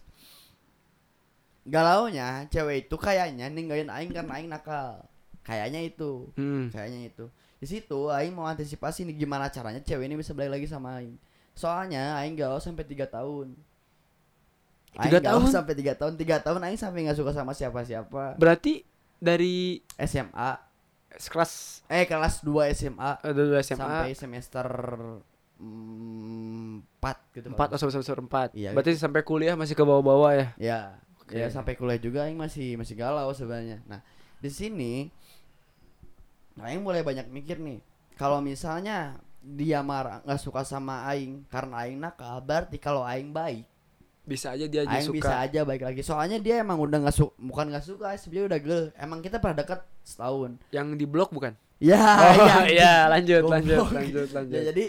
S3: Galaunya cewek itu kayaknya ninggalin aing karena aing nakal. Kayaknya itu.
S2: Hmm.
S3: Kayaknya itu. Di situ aing mau antisipasi nih gimana caranya cewek ini bisa balik lagi sama aing. Soalnya aing galau sampai 3 tahun. Aing
S2: Tiga
S3: galau
S2: tahun?
S3: sampai 3 tahun. 3 tahun aing sampai nggak suka sama siapa-siapa.
S2: Berarti dari
S3: SMA
S2: kelas
S3: eh kelas 2 SMA
S2: eh, dulu SMA
S3: sampai semester mm, 4 gitu.
S2: 4
S3: kalau
S2: atau semester 4.
S3: Iya.
S2: Berarti sampai kuliah masih ke bawah-bawah ya.
S3: Ya,
S2: Oke.
S3: ya sampai kuliah juga aing masih masih galau sebenarnya. Nah, di sini aing mulai banyak mikir nih. Kalau misalnya dia marah nggak suka sama aing karena aing nakal, berarti kalau aing baik,
S2: Bisa aja dia aja
S3: aing bisa
S2: suka.
S3: aja baik lagi. Soalnya dia emang udah nggak suka, bukan nggak suka, sebenarnya udah gel. Emang kita pernah dekat setahun.
S2: Yang di blok bukan?
S3: Ya,
S2: Oh
S3: ya.
S2: iya, lanjut,
S3: Goblok.
S2: lanjut, lanjut, lanjut.
S3: Ya, jadi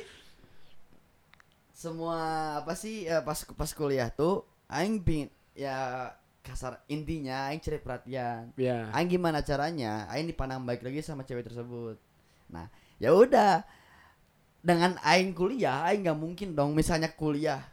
S3: semua apa sih eh, pas pas kuliah tuh aing pingin ya kasar intinya aing cari perhatian.
S2: Ya.
S3: Aing gimana caranya aing dipandang baik lagi sama cewek tersebut. Nah, ya udah dengan aing kuliah aing nggak mungkin dong misalnya kuliah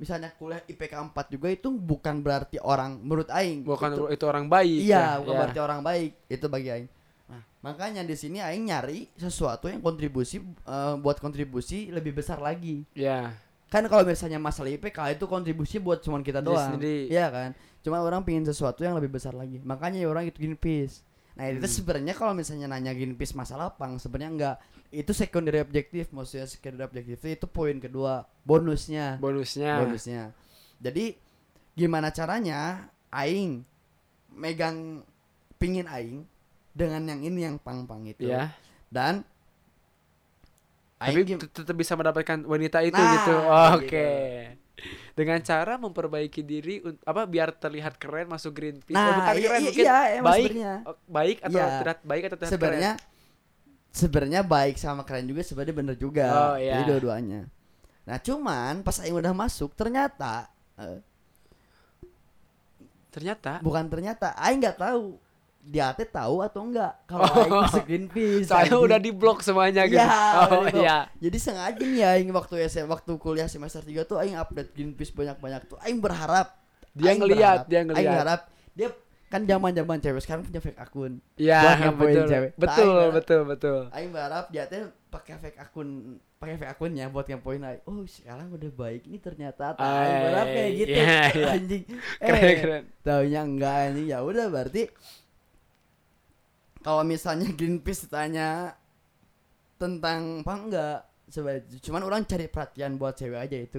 S3: misalnya kuliah IPK 4 juga itu bukan berarti orang menurut aing gitu.
S2: Bukan
S3: itu-
S2: itu, orang baik. ya,
S3: Iya, bukan
S2: ya.
S3: berarti orang baik. Itu bagi aing. Nah, makanya di sini aing nyari sesuatu yang kontribusi eh, buat kontribusi lebih besar lagi.
S2: Ya.
S3: Kan kalau misalnya masalah IPK itu kontribusi buat cuman kita
S2: Diri
S3: doang.
S2: sendiri.
S3: Iya kan? Cuma orang pingin sesuatu yang lebih besar lagi. Makanya ya orang itu Greenpeace. Nah, itu
S2: Hmm.
S3: sebenarnya kalau misalnya nanya Greenpeace masalah pang sebenarnya enggak. Itu secondary objektif, maksudnya secondary objektif itu poin kedua, bonusnya
S2: Bonusnya.
S3: bonusnya. Jadi gimana caranya aing megang pingin aing dengan yang ini yang pang-pang itu.
S2: Ya.
S3: Dan
S2: Tapi
S3: gim-
S2: tet- tetap bisa mendapatkan wanita itu
S3: Nah,
S2: gitu.
S3: gitu.
S2: Oke. Dengan cara memperbaiki diri un- apa biar terlihat keren masuk Greenpeace.
S3: Nah,
S2: Eh, bukan
S3: iya,
S2: keren
S3: iya,
S2: mungkin
S3: iya, emang
S2: baik.
S3: sebenarnya.
S2: oh, Baik atau
S3: Iya.
S2: terlihat baik atau terlihat
S3: sebenarnya sebenarnya baik sama keren juga sebenarnya bener juga.
S2: Oh, iya.
S3: Jadi dua-duanya. Nah, cuman pas aing udah masuk ternyata eh,
S2: keren. Ternyata
S3: bukan ternyata aing nggak tahu dia teh tahu atau enggak kalau aing
S2: Oh.
S3: masuk Greenpeace.
S2: saya
S3: anjing.
S2: udah di blok semuanya gitu.
S3: Iya,
S2: oh
S3: udah di blok.
S2: iya.
S3: Jadi sengaja nih aing waktu SM, waktu kuliah semester 3 tuh aing update Greenpeace banyak-banyak tuh aing berharap
S2: Dia
S3: aing
S2: ngeliat,
S3: berharap,
S2: dia
S3: Aing
S2: ngeliat.
S3: harap dia kan zaman-zaman cewek sekarang punya fake akun.
S2: Iya,
S3: Buat ngepoin
S2: betul.
S3: cewek.
S2: Betul,
S3: Nah,
S2: betul, betul.
S3: Aing berharap dia teh pakai fake akun pakai fake akunnya buat ngepoin aing. Oh, sekarang udah baik ini ternyata. Tah, Aing
S2: Ay,
S3: berharap kayak gitu.
S2: iya, iya.
S3: Anjing. Eh,
S2: Keren, keren.
S3: Taunya enggak anjing. Ya udah berarti kalau misalnya Greenpeace tanya tentang apa enggak sebenarnya cuman orang cari perhatian buat cewek aja itu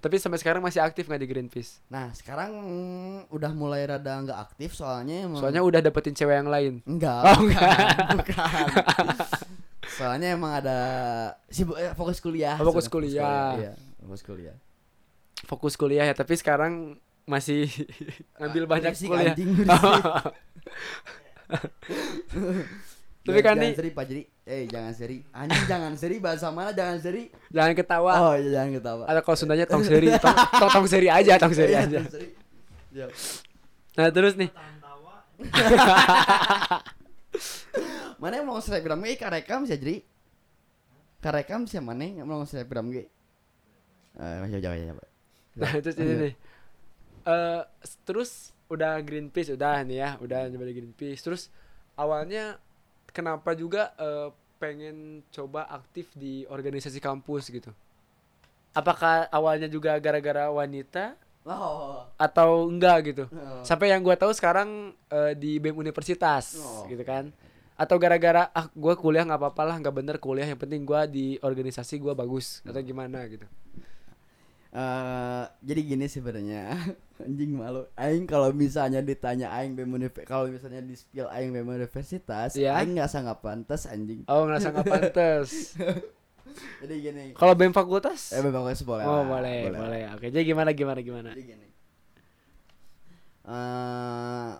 S2: Oh, tapi sampai sekarang masih aktif nggak di Greenpeace?
S3: Nah sekarang mm, udah mulai rada nggak aktif soalnya emang
S2: Soalnya udah dapetin cewek yang lain.
S3: enggak
S2: Oh,
S3: bukan,
S2: enggak.
S3: bukan. soalnya emang ada sibuk eh, fokus kuliah
S2: Oh, fokus
S3: Sudah,
S2: kuliah.
S3: iya, fokus kuliah
S2: Fokus kuliah ya, tapi sekarang masih ngambil
S3: Ah,
S2: banyak
S3: berisik,
S2: kuliah.
S3: anjing, berisik.
S2: Tapi kan
S3: jangan
S2: nih-
S3: seri pak jadi eh jangan seri anjing jangan seri bahasa mana jangan seri
S2: Jangan ketawa.
S3: oh iya, jangan ketawa
S2: Atau kalau Sundanya tong seri, tong, tong, tong seri aja, tong seri
S3: Iya,
S2: aja.
S3: jangan seri. Iya.
S2: Nah, terus nih.
S3: mana yang mau selebgram gue karekam sih jadi karekam sih mana yang mau selebgram gue eh jauh jauh jauh
S2: Nah, terus ini
S3: Iya.
S2: nih. Eh, s- terus udah Greenpeace udah nih ya, udah nyoba di Greenpeace. Terus awalnya kenapa juga eh, pengen coba aktif di organisasi kampus gitu? Apakah awalnya juga gara-gara wanita
S3: oh
S2: atau enggak gitu?
S3: Oh.
S2: Sampai yang gua tahu sekarang eh, di BEM Universitas
S3: Oh.
S2: gitu kan. Atau gara-gara ah gua kuliah nggak apa-apa lah, nggak bener kuliah yang penting gua di organisasi gua bagus atau gimana gitu.
S3: Eh, jadi gini sebenarnya anjing malu aing kalau misalnya ditanya aing BEM Univ- kalau misalnya di spill aing BEM universitas
S2: Iya.
S3: aing ngerasa nggak pantas anjing
S2: Oh ngerasa nggak pantas.
S3: jadi gini
S2: Kalau BEM fakultas?
S3: eh Bapak Kores boleh
S2: oh,
S3: lah,
S2: boleh, boleh, Oke, jadi gimana gimana gimana?
S3: jadi gini Eh,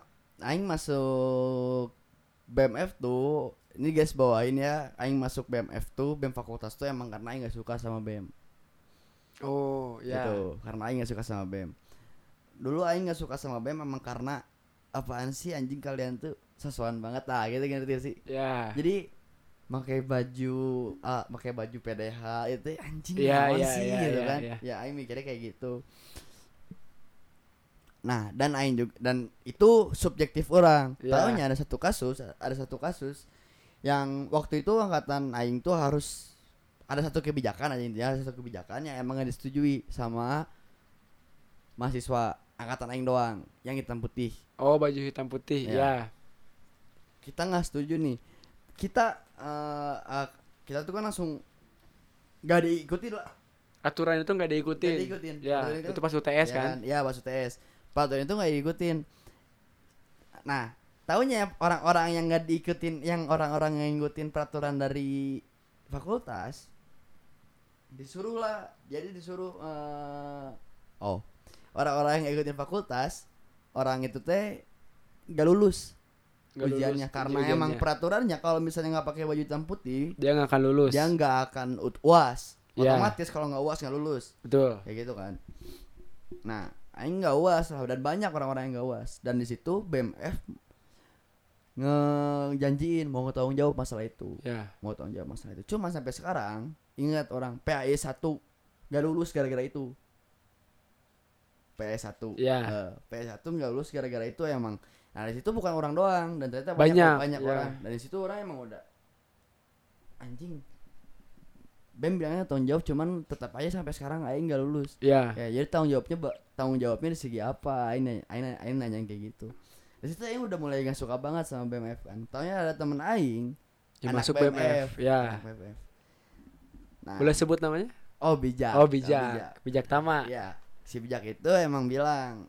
S3: aing masuk BMF tuh ini guys bawain ya aing masuk BMF tuh BEM fakultas tuh emang karena aing gak suka sama BEM
S2: Oh,
S3: gitu karena aing gak suka sama BEM dulu aing gak suka sama BEM emang karena apaan sih anjing kalian tuh sesuan banget lah gitu ngerti sih
S2: Ya.
S3: jadi pakai baju ah, pakai baju PDH itu "Eh, anjing
S2: Iya,
S3: apaan
S2: iya,
S3: sih
S2: iya,
S3: gitu
S2: iya,
S3: kan
S2: iya.
S3: ya aing mikirnya kayak gitu nah dan aing juga dan itu subjektif orang
S2: Iya.
S3: tahunya ada satu kasus ada satu kasus yang waktu itu angkatan aing tuh harus ada satu kebijakan aja intinya ada satu kebijakan yang emang gak disetujui sama mahasiswa angkatan aing doang yang hitam putih
S2: Oh, baju hitam putih.
S3: Ya.
S2: Ya.
S3: kita nggak setuju nih kita eh, eh, kita tuh kan langsung nggak diikuti lah
S2: Aturan itu nggak diikutin.
S3: Nggak diikutin.
S2: Ya,
S3: Aturan itu-
S2: itu pas UTS
S3: ya
S2: kan?
S3: ya pas UTS peraturan itu nggak diikutin nah tahunya orang-orang yang nggak diikutin yang orang-orang yang ngikutin peraturan dari fakultas disuruh lah jadi disuruh eh, oh orang-orang yang ngikutin fakultas orang itu teh nggak lulus
S2: Nggak lulus
S3: ujiannya
S2: uji-
S3: karena
S2: ujiannya.
S3: emang peraturannya kalau misalnya nggak pakai baju hitam putih
S2: dia nggak akan lulus.
S3: dia nggak akan ut- uas
S2: Ya.
S3: otomatis kalau nggak uas nggak lulus
S2: Betul.
S3: kayak gitu kan nah aing nggak uas lah dan banyak orang-orang yang nggak uas dan di situ BMF ngejanjiin mau tanggung jawab masalah itu
S2: Ya.
S3: mau tanggung jawab masalah itu cuma sampai sekarang ingat orang PAE 1 nggak lulus gara-gara itu PAE 1
S2: Iya.
S3: Eh, PAE 1 nggak lulus gara-gara itu emang nah di situ bukan orang doang dan ternyata
S2: Banyak,
S3: banyak banyak
S2: iya.
S3: orang dan di situ orang emang udah anjing Bem bilangnya tanggung jawab cuman tetap aja sampai sekarang Aing nggak lulus
S2: Ya.
S3: ya jadi tanggung jawabnya ba- tanggung jawabnya di segi apa Aing nanya, Aing, nanya- Aing nanya yang kayak gitu di situ Aing udah mulai nggak suka banget sama BMF kan taunya ada temen Aing
S2: Dia
S3: anak
S2: masuk BMF. Ya.
S3: anak BMF. Nah,
S2: Boleh sebut namanya?
S3: oh bijak
S2: oh,
S3: Nah,
S2: bijak. Bijak Tama.
S3: ya si bijak itu emang bilang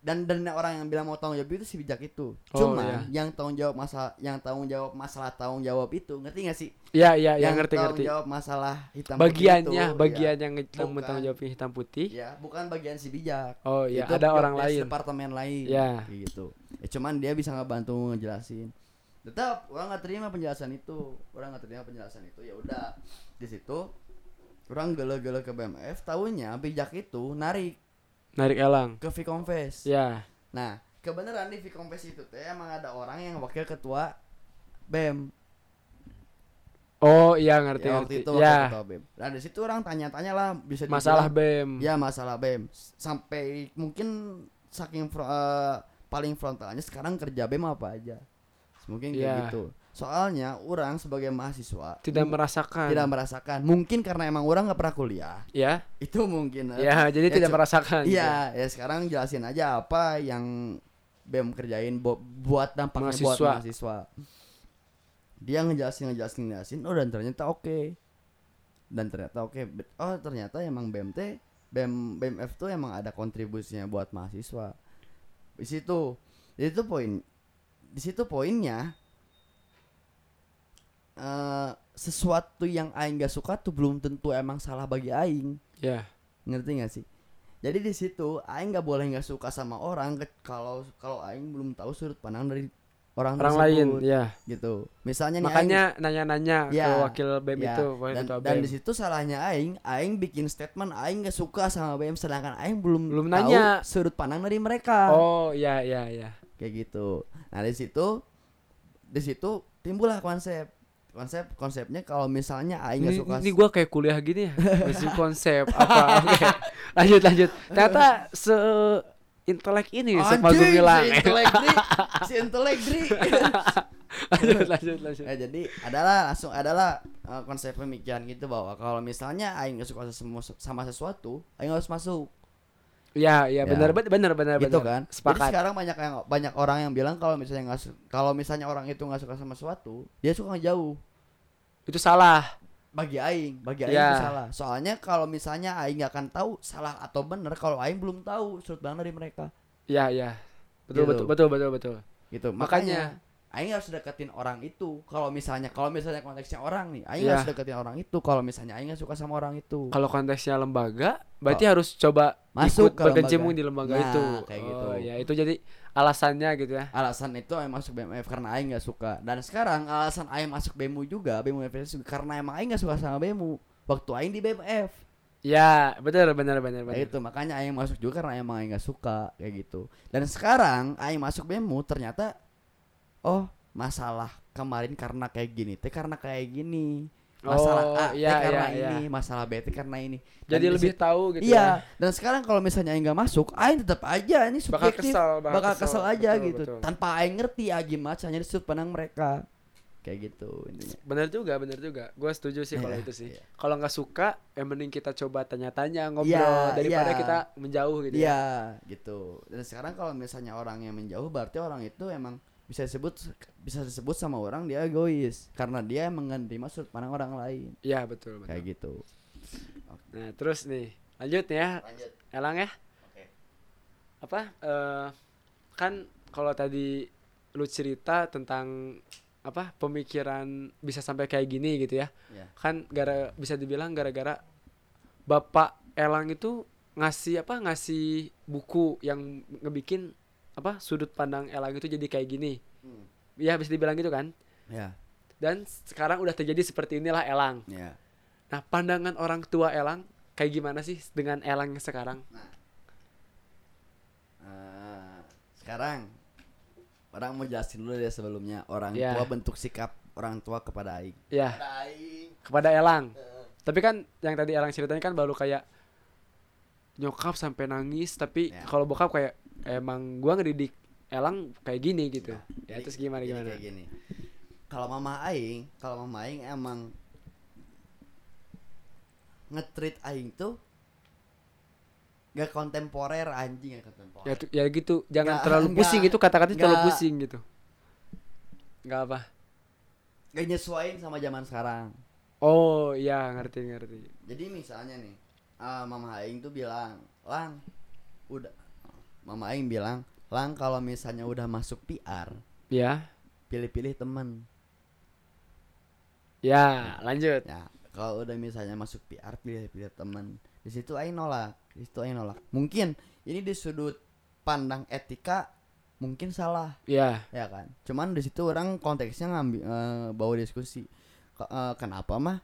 S3: dan dan orang yang bilang mau tanggung jawab itu si bijak itu
S2: Oh,
S3: cuma
S2: iya.
S3: yang tanggung jawab masalah yang tanggung jawab masalah tanggung jawab itu ngerti gak sih
S2: Ya, ya, ya
S3: yang
S2: ngerti
S3: tanggung
S2: ngerti.
S3: jawab masalah hitam putih
S2: Bagiannya,
S3: itu,
S2: bagian
S3: ya.
S2: yang hitam
S3: Bukan.
S2: tanggung jawabnya hitam putih.
S3: Ya, bukan bagian si bijak.
S2: Oh, iya,
S3: Itu
S2: ada orang
S3: jobdesk
S2: lain.
S3: Departemen lain.
S2: Ya.
S3: Kayak gitu. Ya, cuman dia bisa ngebantu ngejelasin. Tetap orang nggak terima penjelasan itu. Orang nggak terima penjelasan itu. Ya udah. Di situ orang gele-gele ke BMF, tahunya bijak itu narik
S2: Narik elang.
S3: ke Vkonves.
S2: Ya.
S3: Nah, kebenaran di Vkonves itu teh emang ada orang yang wakil ketua BEM.
S2: Oh, iya ngerti
S3: Ya,
S2: ngerti.
S3: waktu itu wakil
S2: Ya.
S3: ketua BEM. Nah, di situ orang tanya-tanya lah bisa dibilang-
S2: Masalah BEM.
S3: Ya masalah BEM sampai mungkin saking fro- eh, paling frontalnya sekarang kerja BEM apa aja. Mungkin kayak
S2: Iya.
S3: gitu. Soalnya orang sebagai mahasiswa
S2: Tidak
S3: mu-
S2: merasakan.
S3: tidak merasakan. Mungkin karena emang orang nggak pernah kuliah.
S2: Ya.
S3: Itu mungkin. eh.
S2: Ya, jadi tidak
S3: cu-
S2: merasakan.
S3: Iya, ya sekarang jelasin aja apa yang BEM kerjain bo- buat dampaknya buat
S2: Mahasiswa.
S3: mahasiswa. Dia ngejelasin ngejelasin ngejelasin oh dan ternyata oke. Dan ternyata oke. Be- Oh ternyata emang BEM teh BEM BMF tuh emang ada kontribusinya buat mahasiswa. Di situ di situ poin di situ poinnya eh sesuatu yang aing gak suka tuh belum tentu emang salah bagi aing
S2: Ya.
S3: ngerti gak sih jadi di situ aing nggak boleh nggak suka sama orang ke- kalau kalau aing belum tahu sudut pandang dari orang,
S2: Orang lain,
S3: tersebut,
S2: ya.
S3: gitu misalnya nih aing-
S2: Makanya nanya-nanya
S3: Ya,
S2: ke wakil BEM
S3: ya,
S2: itu, wakil
S3: dan,
S2: ketua
S3: dan
S2: BEM.
S3: di situ salahnya aing aing bikin statement aing nggak suka sama BM sedangkan aing belum
S2: Belum
S3: tahu
S2: nanya.
S3: sudut pandang dari mereka
S2: Oh, ya ya ya.
S3: kayak gitu nah di situ di situ timbullah konsep konsep konsepnya kalau misalnya aing nggak
S2: Ini,
S3: suka
S2: ini gue kayak kuliah gini ya, masih konsep apa? Oke. Lanjut lanjut. Ternyata se intelek ini
S3: Anjing,
S2: sempat gue bilang.
S3: si intelek dri si intelek dri
S2: lanjut lanjut lanjut.
S3: Eh, jadi adalah langsung adalah eh, konsep pemikiran gitu bahwa kalau misalnya aing nggak suka sesemu- sama sesuatu, aing harus masuk.
S2: Ya ya
S3: Ya.
S2: benar benar benar Eh, benar.
S3: gitu
S2: benar.
S3: kan. Jadi
S2: Sepakat.
S3: sekarang banyak yang banyak orang yang bilang kalau misalnya nggak su- kalau misalnya orang itu nggak suka sama sesuatu, dia suka ngejauh.
S2: Itu salah.
S3: Bagi aing, bagi aing
S2: Ya.
S3: itu salah. Soalnya kalau misalnya aing nggak akan tahu salah atau benar kalau aing belum tahu sudut pandang dari mereka.
S2: Ya ya. Betul
S3: Gitu.
S2: betul betul betul betul.
S3: Gitu.
S2: Makanya.
S3: Makanya, aing harus deketin orang itu. Kalau misalnya kalau misalnya konteksnya orang nih, aing
S2: Ya.
S3: harus deketin orang itu kalau misalnya aing nggak suka sama orang itu.
S2: Kalau konteksnya lembaga, berarti harus coba
S3: Oh. Masuk
S2: ikut
S3: ke
S2: berkecimpung
S3: lembaga.
S2: di lembaga
S3: Nah,
S2: itu.
S3: kayak
S2: oh,
S3: gitu.
S2: ya itu jadi alasannya gitu ya.
S3: alasan itu Aing masuk BMF karena Aing nggak suka dan sekarang alasan Aing masuk BEMU juga BEMU FS juga karena emang Aing nggak suka sama BEMU waktu Aing di BMF
S2: Ya, benar benar benar benar.
S3: Kayak Nah, itu makanya Aing masuk juga karena emang Aing nggak suka kayak gitu dan sekarang Aing masuk BEMU ternyata oh masalah kemarin karena kayak gini teh karena kayak gini masalah
S2: Oh,
S3: A teh
S2: iya,
S3: karena
S2: iya,
S3: ini masalah B teh karena ini Dan
S2: Jadi
S3: di
S2: lebih
S3: situ-
S2: tahu gitu
S3: iya
S2: ya.
S3: dan sekarang kalau misalnya Aing nggak masuk Aing tetap aja ini
S2: Bakal
S3: subjektif
S2: kesel,
S3: bakal kesel, aja
S2: Betul,
S3: gitu
S2: betul.
S3: tanpa aing ngerti ya gimana caranya di sudut pandang mereka kayak gitu intinya
S2: Bener juga, bener juga. Gue setuju sih kalau
S3: Iya,
S2: itu sih.
S3: iya.
S2: Kalau nggak suka, ya mending kita coba tanya-tanya, ngobrol
S3: Iya,
S2: daripada
S3: iya.
S2: kita menjauh gitu. ya.
S3: iya gitu dan sekarang kalau misalnya orang yang menjauh berarti orang itu emang bisa disebut bisa disebut sama orang dia egois karena dia emang nggak menerima sudut pandang orang lain
S2: Iya betul betul.
S3: kayak gitu
S2: Nah terus nih, lanjut nih ya,
S3: lanjut
S2: Elang ya.
S3: Oke.
S2: Apa? eh, kan kalau tadi lu cerita tentang apa pemikiran bisa sampai kayak gini gitu ya.
S3: ya
S2: Kan gara bisa dibilang gara-gara Bapak Elang itu ngasih apa ngasih buku yang ngebikin apa sudut pandang Elang itu jadi kayak gini.
S3: Hmm.
S2: Ya bisa dibilang gitu kan.
S3: ya
S2: Dan sekarang udah terjadi seperti inilah Elang.
S3: ya
S2: Nah, pandangan orang tua Elang kayak gimana sih dengan Elang yang sekarang?
S3: Ah, sekarang orang mau jelasin dulu deh sebelumnya orang
S2: Ya.
S3: tua bentuk sikap orang tua kepada aing
S2: Ya.
S3: aing
S2: kepada Elang. Tapi kan yang tadi Elang ceritanya kan baru kayak nyokap sampai nangis, tapi
S3: Ya.
S2: kalau bokap kayak emang gua ngedidik Elang kayak gini gitu. Ya,
S3: Jadi-
S2: terus gimana
S3: jadi
S2: gimana?
S3: kayak gini. Kalau mama aing, kalau mama aing emang ngetrit aing tuh gak kontemporer anjing gak
S2: Ya,
S3: kontemporer.
S2: tu- ya gitu, jangan
S3: Nggak,
S2: terlalu
S3: nggak,
S2: pusing itu kata-katanya terlalu
S3: nggak.
S2: pusing gitu. Enggak apa.
S3: Gak nyesuain sama zaman sekarang.
S2: Oh, iya ngerti ngerti.
S3: Jadi misalnya nih, ah, mama aing tuh bilang, "Lang, udah Mama aing bilang, "Lang, kalau misalnya udah masuk PR,
S2: Ya.
S3: pilih-pilih temen
S2: Ya, lanjut.
S3: Ya, kalau udah misalnya masuk PR pilih-pilih teman. Di situ aing nolak, di situ aing nolak. Mungkin ini di sudut pandang etika mungkin salah,
S2: Ya.
S3: ya kan? Cuman di situ orang konteksnya ngambil eh, bawa diskusi. Ke- eh, kenapa mah?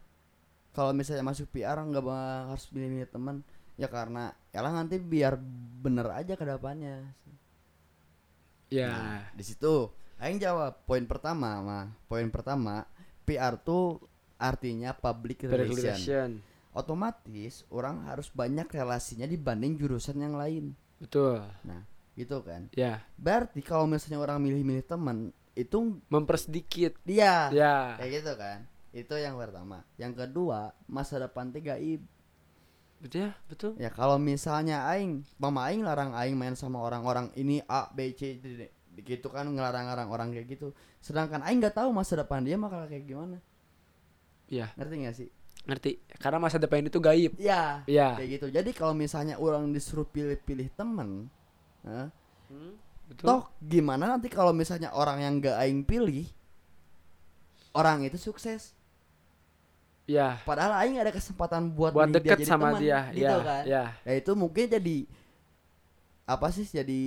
S3: Kalau misalnya masuk PR nggak ba- harus pilih-pilih teman ya karena elah nanti biar bener aja ke depannya.
S2: Ya.
S3: Nah, di situ aing jawab poin pertama mah. Poin pertama PR tuh artinya public relation
S2: Regulation.
S3: otomatis orang harus banyak relasinya dibanding jurusan yang lain
S2: Betul.
S3: gitu kan
S2: Ya,
S3: berarti kalau misalnya orang milih-milih teman itu
S2: mempersedikit.
S3: dia
S2: Ya.
S3: kayak gitu kan itu yang pertama yang kedua masa depan teh gaib
S2: Betul ya, betul.
S3: ya kalau misalnya aing mama aing larang aing main sama orang-orang ini a b c D, D. gitu kan ngelarang-larang orang kayak gitu sedangkan aing nggak tahu masa depan dia bakal kayak gimana
S2: Iya,
S3: ngerti gak sih
S2: ngerti. Karena masa depan itu gaib.
S3: ya
S2: Iya.
S3: kayak gitu jadi kalau misalnya orang disuruh pilih-pilih temen eh,
S2: Betul.
S3: toh gimana nanti kalau misalnya orang yang gak aing pilih orang itu sukses
S2: Iya.
S3: padahal aing ada kesempatan buat,
S2: Buat
S3: milih
S2: deket
S3: jadi
S2: sama
S3: teman,
S2: dia.
S3: gitu
S2: Iya.
S3: kan
S2: Iya.
S3: Nah, itu mungkin jadi apa sih jadi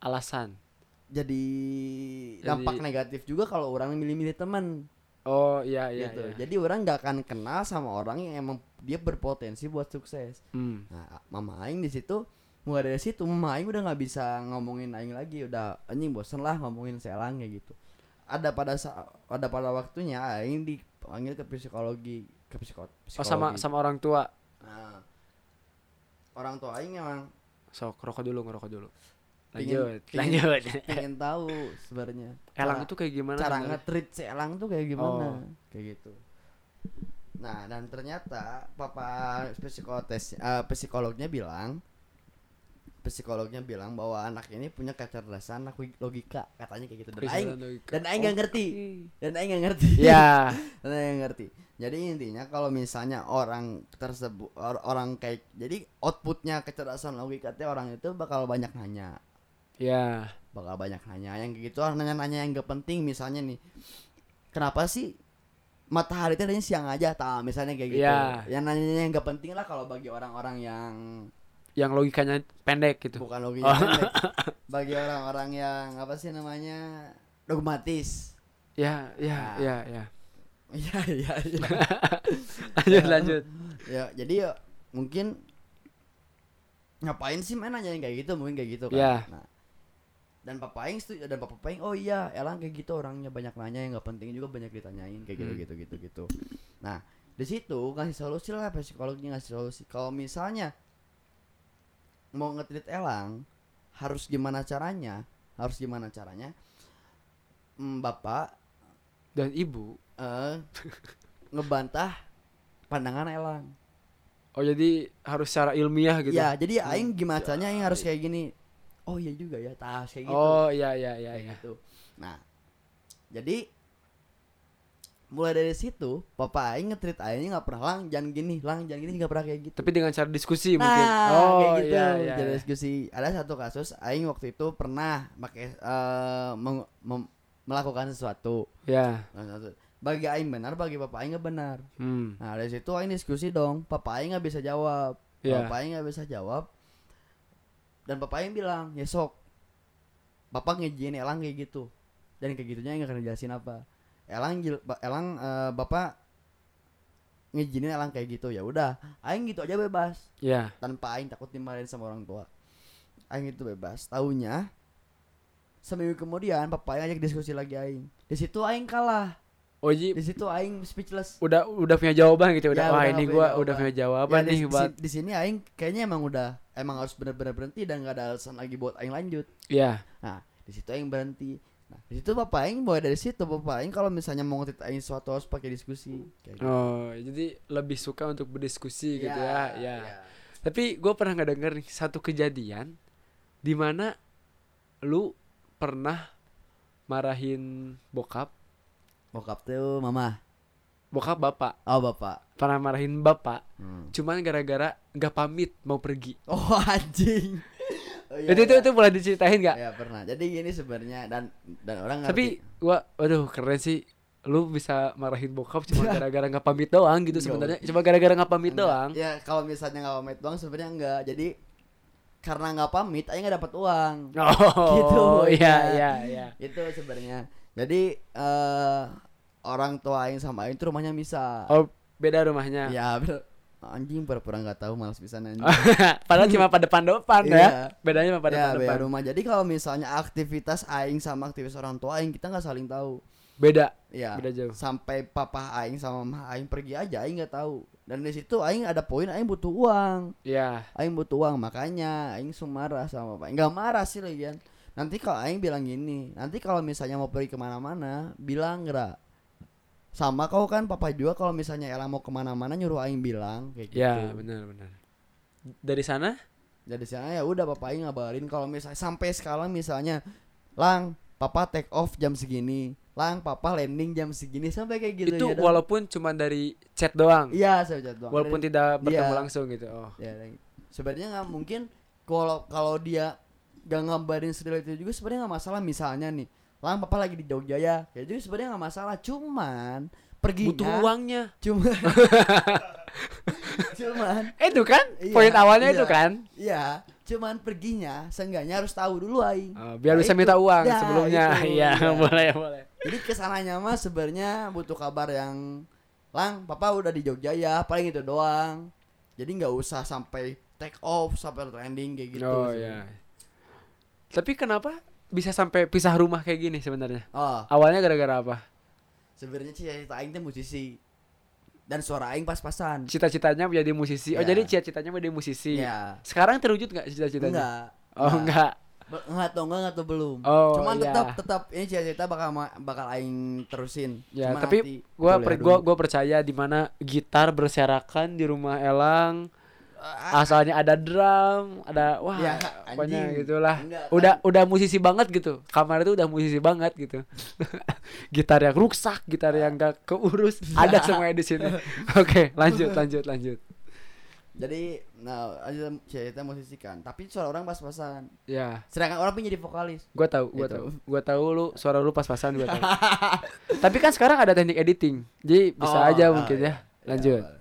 S2: Alasan.
S3: jadi
S2: Jadi-
S3: dampak negatif juga kalau orang milih-milih teman
S2: Oh iya iya.
S3: gitu.
S2: iya.
S3: Jadi orang nggak akan kenal sama orang yang emang dia berpotensi buat sukses.
S2: Hmm.
S3: Nah, mama aing di situ mulai dari situ mama aing udah nggak bisa ngomongin aing lagi, udah anjing bosen lah ngomongin selang kayak gitu. Ada pada sa- ada pada waktunya aing dipanggil ke psikologi, ke psikot.
S2: Oh sama
S3: psikologi.
S2: sama orang tua.
S3: Nah, orang tua aing emang
S2: Sok rokok dulu, ngerokok dulu. Lanjut.
S3: Pingin- pingin-
S2: Lanjut.
S3: pengen tahu sebenarnya
S2: Elang
S3: Cara-
S2: itu kayak gimana?
S3: cara
S2: sebenarnya?
S3: nge-treat si elang tuh kayak gimana
S2: Oh.
S3: kayak gitu nah dan ternyata papa psikotes eh, psikolognya bilang psikolognya bilang bahwa anak ini punya kecerdasan anak logika katanya kayak gitu dan aing
S2: Kecerdasan logika.
S3: dan aing nggak ngerti
S2: Oke.
S3: dan aing nggak ngerti
S2: Iya.
S3: dan aing nggak ngerti jadi intinya kalau misalnya orang tersebut or- orang kayak jadi outputnya kecerdasan logikanya orang itu bakal banyak nanya
S2: Iya.
S3: bakal banyak nanya yang kayak gitu ah, nanya-nanya yang gak penting misalnya nih kenapa sih matahari itu adanya siang aja tah misalnya kayak gitu
S2: Iya.
S3: yang nanya yang gak penting lah kalau bagi orang-orang yang
S2: Yang logikanya pendek gitu.
S3: bukan
S2: Oh.
S3: logika pendek. bagi orang-orang yang apa sih namanya dogmatis
S2: Ya,
S3: Ah.
S2: ya, ya, ya.
S3: iya iya iya
S2: Lanjut,
S3: Ya.
S2: lanjut.
S3: ya jadi ya mungkin ngapain sih main nanya yang kayak gitu mungkin kayak gitu kan
S2: Iya.
S3: nah, dan papa Aing setuju dan papa Aing oh iya elang kayak gitu orangnya banyak nanya yang nggak penting juga banyak ditanyain kayak gitu
S2: Hmm.
S3: gitu gitu gitu nah di situ ngasih solusi lah psikolognya ngasih solusi kalau misalnya mau ngetrit elang harus gimana caranya harus gimana caranya Mm, bapak
S2: Dan ibu.
S3: eh, ngebantah pandangan elang
S2: Oh, jadi harus secara ilmiah gitu. Iya.
S3: Ya, jadi aing gimana caranya aing harus kayak gini. Oh iya juga ya, tas kayak gitu.
S2: Oh, iya, iya, iya,
S3: kayak
S2: iya.
S3: gitu. Nah, jadi mulai dari situ papa aing ngetrit aing nggak pernah lang jangan gini lang jangan gini nggak pernah kayak gitu
S2: Tapi dengan cara diskusi
S3: nah
S2: mungkin. Oh,
S3: kayak gitu
S2: iya, iya,
S3: jadi
S2: iya.
S3: diskusi ada satu kasus aing waktu itu pernah pakai eh, meng- mem- melakukan sesuatu
S2: Ya.
S3: Melakukan sesuatu. bagi aing benar bagi papa aing nggak benar
S2: Hmm.
S3: Nah dari situ Aing diskusi dong Papa Aing gak bisa jawab
S2: Iya.
S3: Papa Aing gak bisa jawab Dan Papa Aing bilang Ya sok Papa ngejin Elang kayak gitu Dan kayak gitunya Aing gak akan jelasin apa Elang jel- ba- Elang eh, Bapak ngejinin Elang kayak gitu ya udah Aing gitu aja bebas
S2: Ya.
S3: tanpa aing takut dimarahin sama orang tua aing itu bebas tahunya seminggu kemudian papa aing ajak diskusi lagi aing di situ aing kalah
S2: Oh, jadi
S3: di situ aing speechless
S2: udah udah punya jawaban gitu udah
S3: Ya,
S2: wah
S3: udah
S2: ini
S3: punya
S2: gua
S3: jawaban.
S2: udah punya jawaban
S3: Ya, di,
S2: nih
S3: di-
S2: buat
S3: di sini aing kayaknya emang udah emang harus benar-benar berhenti dan gak ada alasan lagi buat aing lanjut.
S2: ya
S3: Nah, di situ aing berhenti. Nah, di situ bapak aing mulai dari situ bapak aing kalau misalnya mau ngetit aing suatu harus pakai diskusi kayak gitu.
S2: oh jadi lebih suka untuk berdiskusi gitu ya ya
S3: ya.
S2: tapi gua pernah nggak denger nih satu kejadian di mana lu pernah marahin bokap
S3: Bokap tuh mama.
S2: bokap bapak
S3: Oh, bapak.
S2: pernah marahin bapak
S3: Hmm.
S2: cuman gara-gara nggak pamit mau pergi
S3: Oh, anjing. Oh, iya,
S2: itu itu
S3: iya.
S2: itu boleh diceritain nggak
S3: Ya, pernah. Jadi gini sebenarnya dan dan orang
S2: tapi
S3: ngerti.
S2: gua waduh keren sih lu bisa marahin bokap cuma gara-gara nggak pamit doang gitu
S3: Nggak,
S2: sebenarnya cuma gara-gara nggak pamit
S3: Iya. Enggak.
S2: doang
S3: Ya, kalau misalnya nggak pamit doang sebenarnya enggak. Jadi karena nggak pamit aing nggak dapat uang.
S2: Oh,
S3: Gitu,
S2: Iya,
S3: ya.
S2: iya, iya.
S3: itu sebenarnya jadi eh orang tua aing sama aing tuh rumahnya bisa
S2: Oh, iya. beda rumahnya.
S3: ya bener. anjing pura-pura nggak tahu malas bisa anjing
S2: Padahal cuma pada depan-depan
S3: Iya.
S2: ya. Bedanya cuma pada
S3: ya beda
S2: depan.
S3: rumah jadi kalau misalnya aktivitas aing sama aktivitas orang tua aing kita nggak saling tahu
S2: Beda.
S3: ya
S2: Beda jauh.
S3: sampai papa aing sama mama aing pergi aja aing nggak tahu dan di situ aing ada poin aing butuh uang
S2: Iya.
S3: aing butuh uang makanya aing sumarah sama papa nggak marah sih lagian nanti kalau aing bilang gini nanti kalau misalnya mau pergi kemana-mana bilang nggak sama kau kan papa juga kalau
S2: Ya.
S3: misalnya Ella mau kemana-mana nyuruh aing bilang kayak gitu
S2: Iya, benar, benar. Dari sana?
S3: jadi sana ya udah papa Aing ngabarin kalau misalnya sampai sekarang misalnya lang papa take off jam segini lang papa landing jam segini sampai kayak gitu
S2: itu
S3: ya, Dan.
S2: walaupun cuma dari chat doang
S3: iya saya chat doang.
S2: walaupun
S3: Dan-
S2: tidak bertemu
S3: Iya.
S2: langsung gitu oh
S3: ya Dan. sebenarnya nggak mungkin kalau kalau dia gak ngabarin sedetail itu juga sebenarnya nggak masalah misalnya nih lang papa lagi di Jogja ya ya jadi sebenarnya nggak masalah cuman pergi
S2: butuh uangnya
S3: cuman cuman
S2: Eh, itu kan
S3: Iya,
S2: poin awalnya
S3: iya.
S2: itu kan
S3: Iya, cuman perginya seenggaknya harus tahu dulu aing.
S2: Oh, biar
S3: Nah,
S2: bisa
S3: itu.
S2: minta uang
S3: Ya,
S2: sebelumnya
S3: itu,
S2: iya
S3: iya.
S2: boleh boleh
S3: Jadi kesananya mah sebenarnya butuh kabar yang lang, papa udah di Jogja ya, paling itu doang. Jadi nggak usah sampai take off sampai landing kayak gitu.
S2: oh
S3: sih.
S2: ya tapi kenapa bisa sampai pisah rumah kayak gini sebenarnya
S3: Oh,
S2: awalnya gara-gara apa
S3: sebenarnya sih cita aing teh musisi dan suara aing pas-pasan.
S2: cita-citanya menjadi musisi oh
S3: Iya.
S2: jadi cita-citanya menjadi musisi
S3: Iya.
S2: sekarang terwujud nggak cita-citanya
S3: Enggak.
S2: oh enggak
S3: Be- Enggak atau enggak atau belum.
S2: Oh,
S3: Cuman
S2: iya.
S3: tetap tetap ini cita-cita bakal ma- bakal aing terusin.
S2: Ya,
S3: Semangati.
S2: tapi gua
S3: Betul ya,
S2: per,
S3: dulu.
S2: gua gua percaya di mana gitar berserakan di rumah Elang.
S3: Ah,
S2: Ah, Asalnya ada drum, ada wah
S3: Ya,
S2: pokoknya
S3: anjing.
S2: gitulah.
S3: Enggak, kan.
S2: Udah udah musisi banget gitu. Kamar itu udah musisi banget gitu. gitar yang rusak, gitar yang gak keurus, ada semuanya di sini. Oke, lanjut lanjut lanjut.
S3: Jadi, nah, ada cerita musisi kan, tapi suara orang pas-pasan.
S2: Ya,
S3: Sedangkan orang pengen jadi vokalis.
S2: gua tahu, gua
S3: Itu.
S2: tahu. Gua tahu lu suara lu pas-pasan gua tahu. Tapi kan sekarang ada teknik editing. Jadi bisa
S3: Oh,
S2: aja
S3: oh,
S2: mungkin
S3: iya.
S2: ya. Lanjut.
S3: Ya,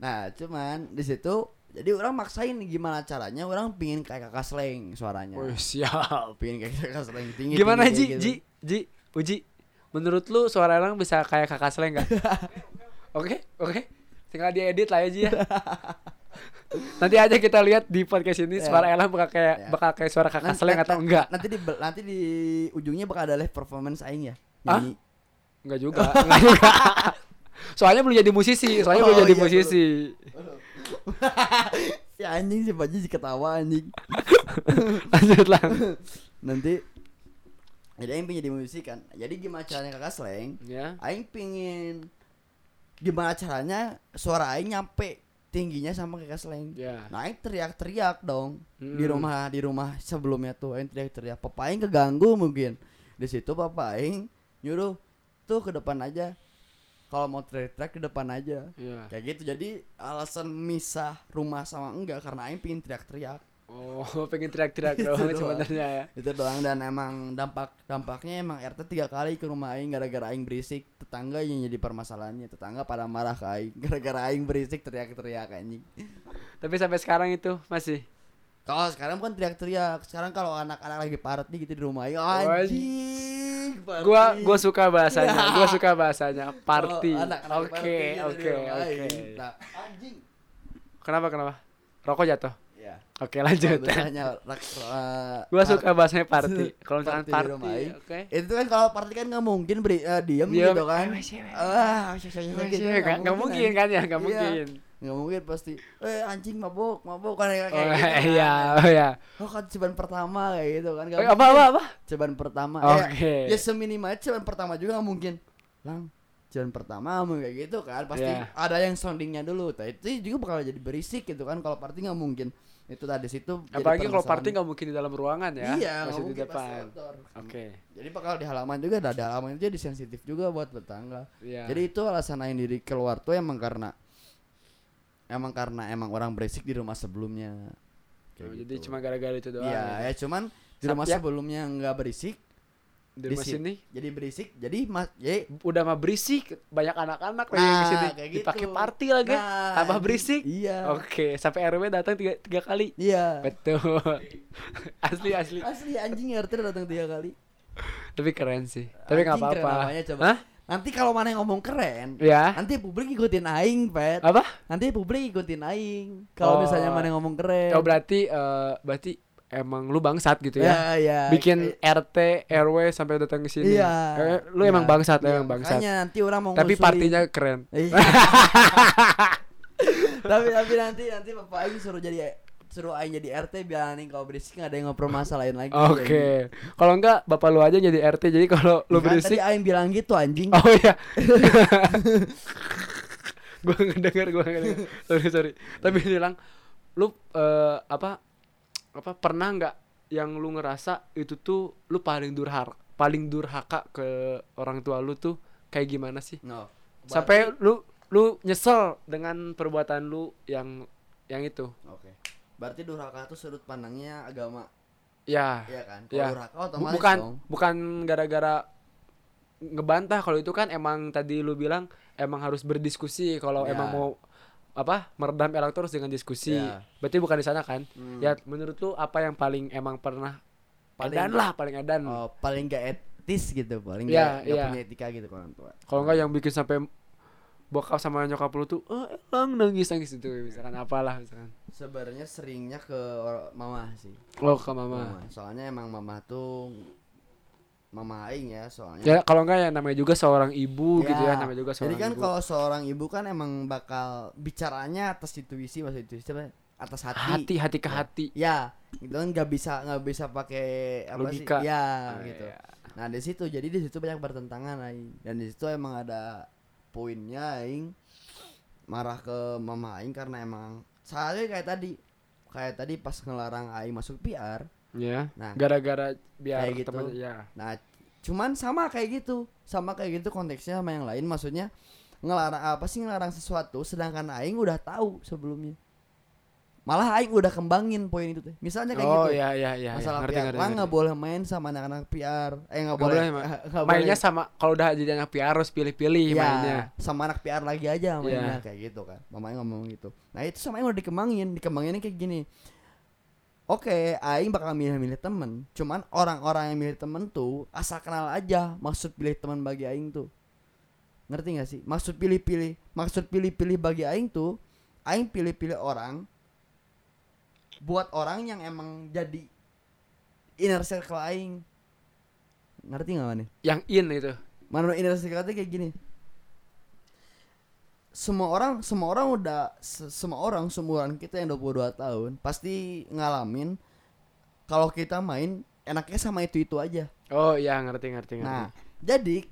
S3: nah, cuman di situ jadi orang maksain gimana caranya orang pingin kayak kakak sleng suaranya.
S2: Wih, siap.
S3: Pingin kayak kakak sleng tinggi.
S2: Gimana
S3: tinggi
S2: Ji?
S3: kayak
S2: Ji,
S3: gitu.
S2: Ji, Uji. Menurut lu suara orang bisa kayak kakak seleng gak? Oke, oke. Tinggal diedit lah ya Ji ya. Nanti aja kita lihat di podcast ini
S3: Ya.
S2: suara Elang bakal kayak
S3: Ya.
S2: bakal kayak suara kakak
S3: Nanti-
S2: seleng atau
S3: nanti-
S2: enggak?
S3: Nanti di nanti di ujungnya bakal ada live performance aing ya.
S2: Hah?
S3: Nyanyi.
S2: Enggak juga, enggak juga. Soalnya belum jadi musisi, soalnya
S3: Oh,
S2: belum jadi
S3: iya,
S2: musisi.
S3: si anjing si Panji si ketawa anjing.
S2: Lanjut lah.
S3: nanti jadi aing pengen jadi musisi kan. Jadi gimana caranya kakak sleng?
S2: Ya.
S3: Aing pingin gimana caranya suara Aing nyampe tingginya sama kayak slang.
S2: Ya.
S3: Nah Aing teriak-teriak dong di
S2: Mm.
S3: rumah di rumah sebelumnya tuh Aing teriak-teriak. Papa Aing keganggu mungkin. Di situ Papa Aing nyuruh tuh ke depan aja. Kalau mau teriak-teriak ke depan aja.
S2: Ya.
S3: Kayak gitu. Jadi alasan misah rumah sama enggak karena Aing pingin teriak-teriak.
S2: Oh, pengen teriak-teriak
S3: Itu
S2: doang
S3: doang.
S2: sebenarnya ya.
S3: Itu doang dan emang dampak dampaknya emang RT tiga kali ke rumah Aing gara-gara Aing berisik tetangga yang jadi permasalahannya tetangga pada marah ke Aing gara-gara Aing berisik teriak-teriak anjing.
S2: Tapi sampai sekarang itu masih
S3: Kalau sekarang bukan teriak-teriak sekarang kalau anak-anak lagi party gitu di rumah Aing anjing. party.
S2: gua gua suka bahasanya gua suka bahasanya
S3: Kalau
S2: party
S3: anak-anak lagi
S2: oke
S3: Oh, party gitu di
S2: oke
S3: rumah
S2: oke
S3: Aing. Nah, anjing.
S2: kenapa kenapa rokok jatuh
S3: Ya.
S2: oke lanjut
S3: Biasanya rak- eh,
S2: gua
S3: party-
S2: suka bahasanya party kalau misalkan
S3: di rumah
S2: party
S3: Aing.
S2: oke
S3: Itu kan kalau party kan nggak mungkin beri eh, diem,
S2: Diem,
S3: gitu kan.
S2: eh, siapa?
S3: Ah, siapa- siapa- siapa gitu,
S2: Nggak- nggak mungkin kan ya nggak
S3: Iya.
S2: mungkin
S3: Nggak mungkin pasti. Eh anjing mabok, mabok kan kayak
S2: oh
S3: gitu kan.
S2: iya oh iya
S3: Oh kan cobaan pertama kayak gitu kan. Nggak
S2: Eh, apa
S3: mungkin.
S2: apa apa
S3: Cobaan pertama.
S2: Oke.
S3: Ya, ya seminimal cobaan pertama juga nggak mungkin. Lang, cobaan pertama mau kayak gitu kan. Pasti
S2: Iya.
S3: ada yang soundingnya dulu. Nah, itu juga bakal jadi berisik gitu kan. Kalau party nggak mungkin. Itu tadi situ. jadi
S2: apalagi kalau party
S3: permasalahan.
S2: nggak mungkin di dalam ruangan ya
S3: Iya, nggak
S2: masih di
S3: mungkin pasti
S2: depan
S3: outdoor.
S2: oke
S3: Jadi bakal di halaman juga ada di halaman itu jadi sensitif juga buat tetangga.
S2: Iya.
S3: Jadi itu alasan Aing diri keluar tuh emang karena emang karena emang orang berisik di rumah sebelumnya. Kayak
S2: Oh, jadi
S3: gitu.
S2: cuma gara-gara itu doang
S3: Iya, ya cuman di
S2: Sat-
S3: rumah
S2: ya.
S3: sebelumnya nggak berisik.
S2: di rumah
S3: si-
S2: sini
S3: Jadi berisik, jadi mas, jadi
S2: udah mah berisik banyak anak-anak lagi di sini
S3: kayak
S2: dipakai
S3: gitu.
S2: party lagi
S3: Nah,
S2: tambah
S3: anjing.
S2: berisik
S3: Iya.
S2: Oke, sampai RW datang tiga, tiga kali.
S3: Iya.
S2: Betul. asli asli.
S3: Asli anjing RT datang tiga kali.
S2: Tapi keren sih. Tapi nggak
S3: Anjing keren
S2: apa-apa.
S3: namanya, coba.
S2: Hah?
S3: Nanti kalau mana yang ngomong keren,
S2: Ya.
S3: nanti publik ikutin aing, Pet.
S2: Apa?
S3: Nanti publik ikutin aing.
S2: Oh.
S3: Kalau misalnya mana yang ngomong
S2: Oh
S3: keren.
S2: berarti eh, berarti emang lu bangsat gitu ya.
S3: Ya, ya.
S2: Bikin
S3: Kayak-
S2: RT RW sampai datang ke sini.
S3: Iya.
S2: Eh, lu
S3: Iya.
S2: emang bangsat, lu
S3: Iya,
S2: emang bangsat.
S3: Makanya nanti orang mau
S2: Tapi
S3: ngusulin.
S2: partinya keren.
S3: Iya. tapi tapi nanti nanti bapak Aing suruh jadi suruh Aing jadi RT biar Aing kalau berisik nggak ada yang ngobrol masalahin lagi.
S2: Oke. Kalau enggak bapak lu aja jadi RT. Jadi kalau lu
S3: Lu berisik.
S2: berisik
S3: Tadi Aing bilang gitu anjing.
S2: Oh iya. gua ngedengar, gua ngedengar. Sorry, sorry. Tapi dia bilang lu eh, apa apa pernah nggak yang lu ngerasa itu tuh lu paling durhaka paling durhaka ke orang tua lu tuh kayak gimana sih?
S3: No.
S2: Sampai lu lu nyesel dengan perbuatan lu yang yang itu.
S3: Oke. Berarti durhaka tuh sudut pandangnya agama,
S2: Ya.
S3: iya kan? Kalau
S2: Ya.
S3: durhaka
S2: Bu-
S3: otomatis
S2: bukan
S3: dong.
S2: bukan gara-gara ngebantah kalau itu kan emang tadi lu bilang emang harus berdiskusi kalau
S3: Ya.
S2: emang mau apa meredam elektor harus dengan diskusi.
S3: Ya.
S2: Berarti bukan di sana kan?
S3: Hmm.
S2: Ya menurut lu apa yang paling emang pernah
S3: Paling-
S2: edan lah paling edan.
S3: Oh, paling gak etis gitu, paling
S2: Hmm. Iya,
S3: gak, gak
S2: iya.
S3: punya etika gitu kalau orang tua.
S2: Kalau enggak yang bikin sampai bokap sama nyokap lu tuh oh, elang nangis nangis itu misalkan apalah misalkan.
S3: Sebenarnya seringnya ke or- mama sih.
S2: Oh ke mama.
S3: Mama. Soalnya emang mama tuh mama aing ya soalnya.
S2: Ya kalau enggak ya namanya juga seorang ibu gitu ya namanya juga seorang
S3: Iya. Jadi kan
S2: ibu.
S3: kalau seorang ibu kan emang bakal bicaranya atas intuisi maksud intuisi apa? Atas
S2: hati hati ke hati.
S3: Ya, gitu kan nggak bisa nggak bisa pakai apa
S2: Logika.
S3: sih? Ya,
S2: Ah,
S3: gitu.
S2: iya.
S3: Nah di situ jadi di situ banyak bertentangan aing dan di situ emang ada poinnya aing marah ke mama aing karena emang soalnya kayak tadi kayak tadi pas ngelarang aing masuk PR.
S2: Ya.
S3: Nah.
S2: Gara-gara biar
S3: Kayak gitu.
S2: temen ya.
S3: Nah cuman sama kayak gitu sama kayak gitu konteksnya sama yang lain maksudnya ngelarang apa sih ngelarang sesuatu sedangkan aing udah tahu sebelumnya malah aing udah kembangin poin itu teh misalnya kayak
S2: oh
S3: gitu
S2: ya ya ya.
S3: masalah
S2: ya. Ngerti,
S3: PR
S2: ngerti,
S3: lah
S2: ngerti.
S3: nggak boleh main sama anak-anak PR eh nggak
S2: Nggak
S3: boleh,
S2: boleh, Ma.
S3: nggak
S2: mainnya
S3: boleh.
S2: sama kalau udah jadi anak PR harus pilih-pilih
S3: Ya,
S2: mainnya.
S3: sama anak PR lagi aja
S2: Iya.
S3: mainnya kayak gitu kan mamanya ngomong gitu nah itu sama yang udah dikembangin dikembanginnya kayak gini Oke, Aing bakal milih-milih temen Cuman orang-orang yang milih temen tuh Asal kenal aja maksud pilih teman bagi Aing tuh Ngerti gak sih? Maksud pilih-pilih Maksud pilih-pilih bagi Aing tuh Aing pilih-pilih orang Buat orang yang emang jadi Inner circle Aing Ngerti gak nih?
S2: Yang in itu.
S3: Menurut industri kata kayak gini. Semua orang, semua orang udah se- semua orang seumuran kita yang 22 tahun pasti ngalamin kalau kita main enaknya sama itu-itu aja.
S2: Oh ya ngerti ngerti ngerti.
S3: Nah, jadi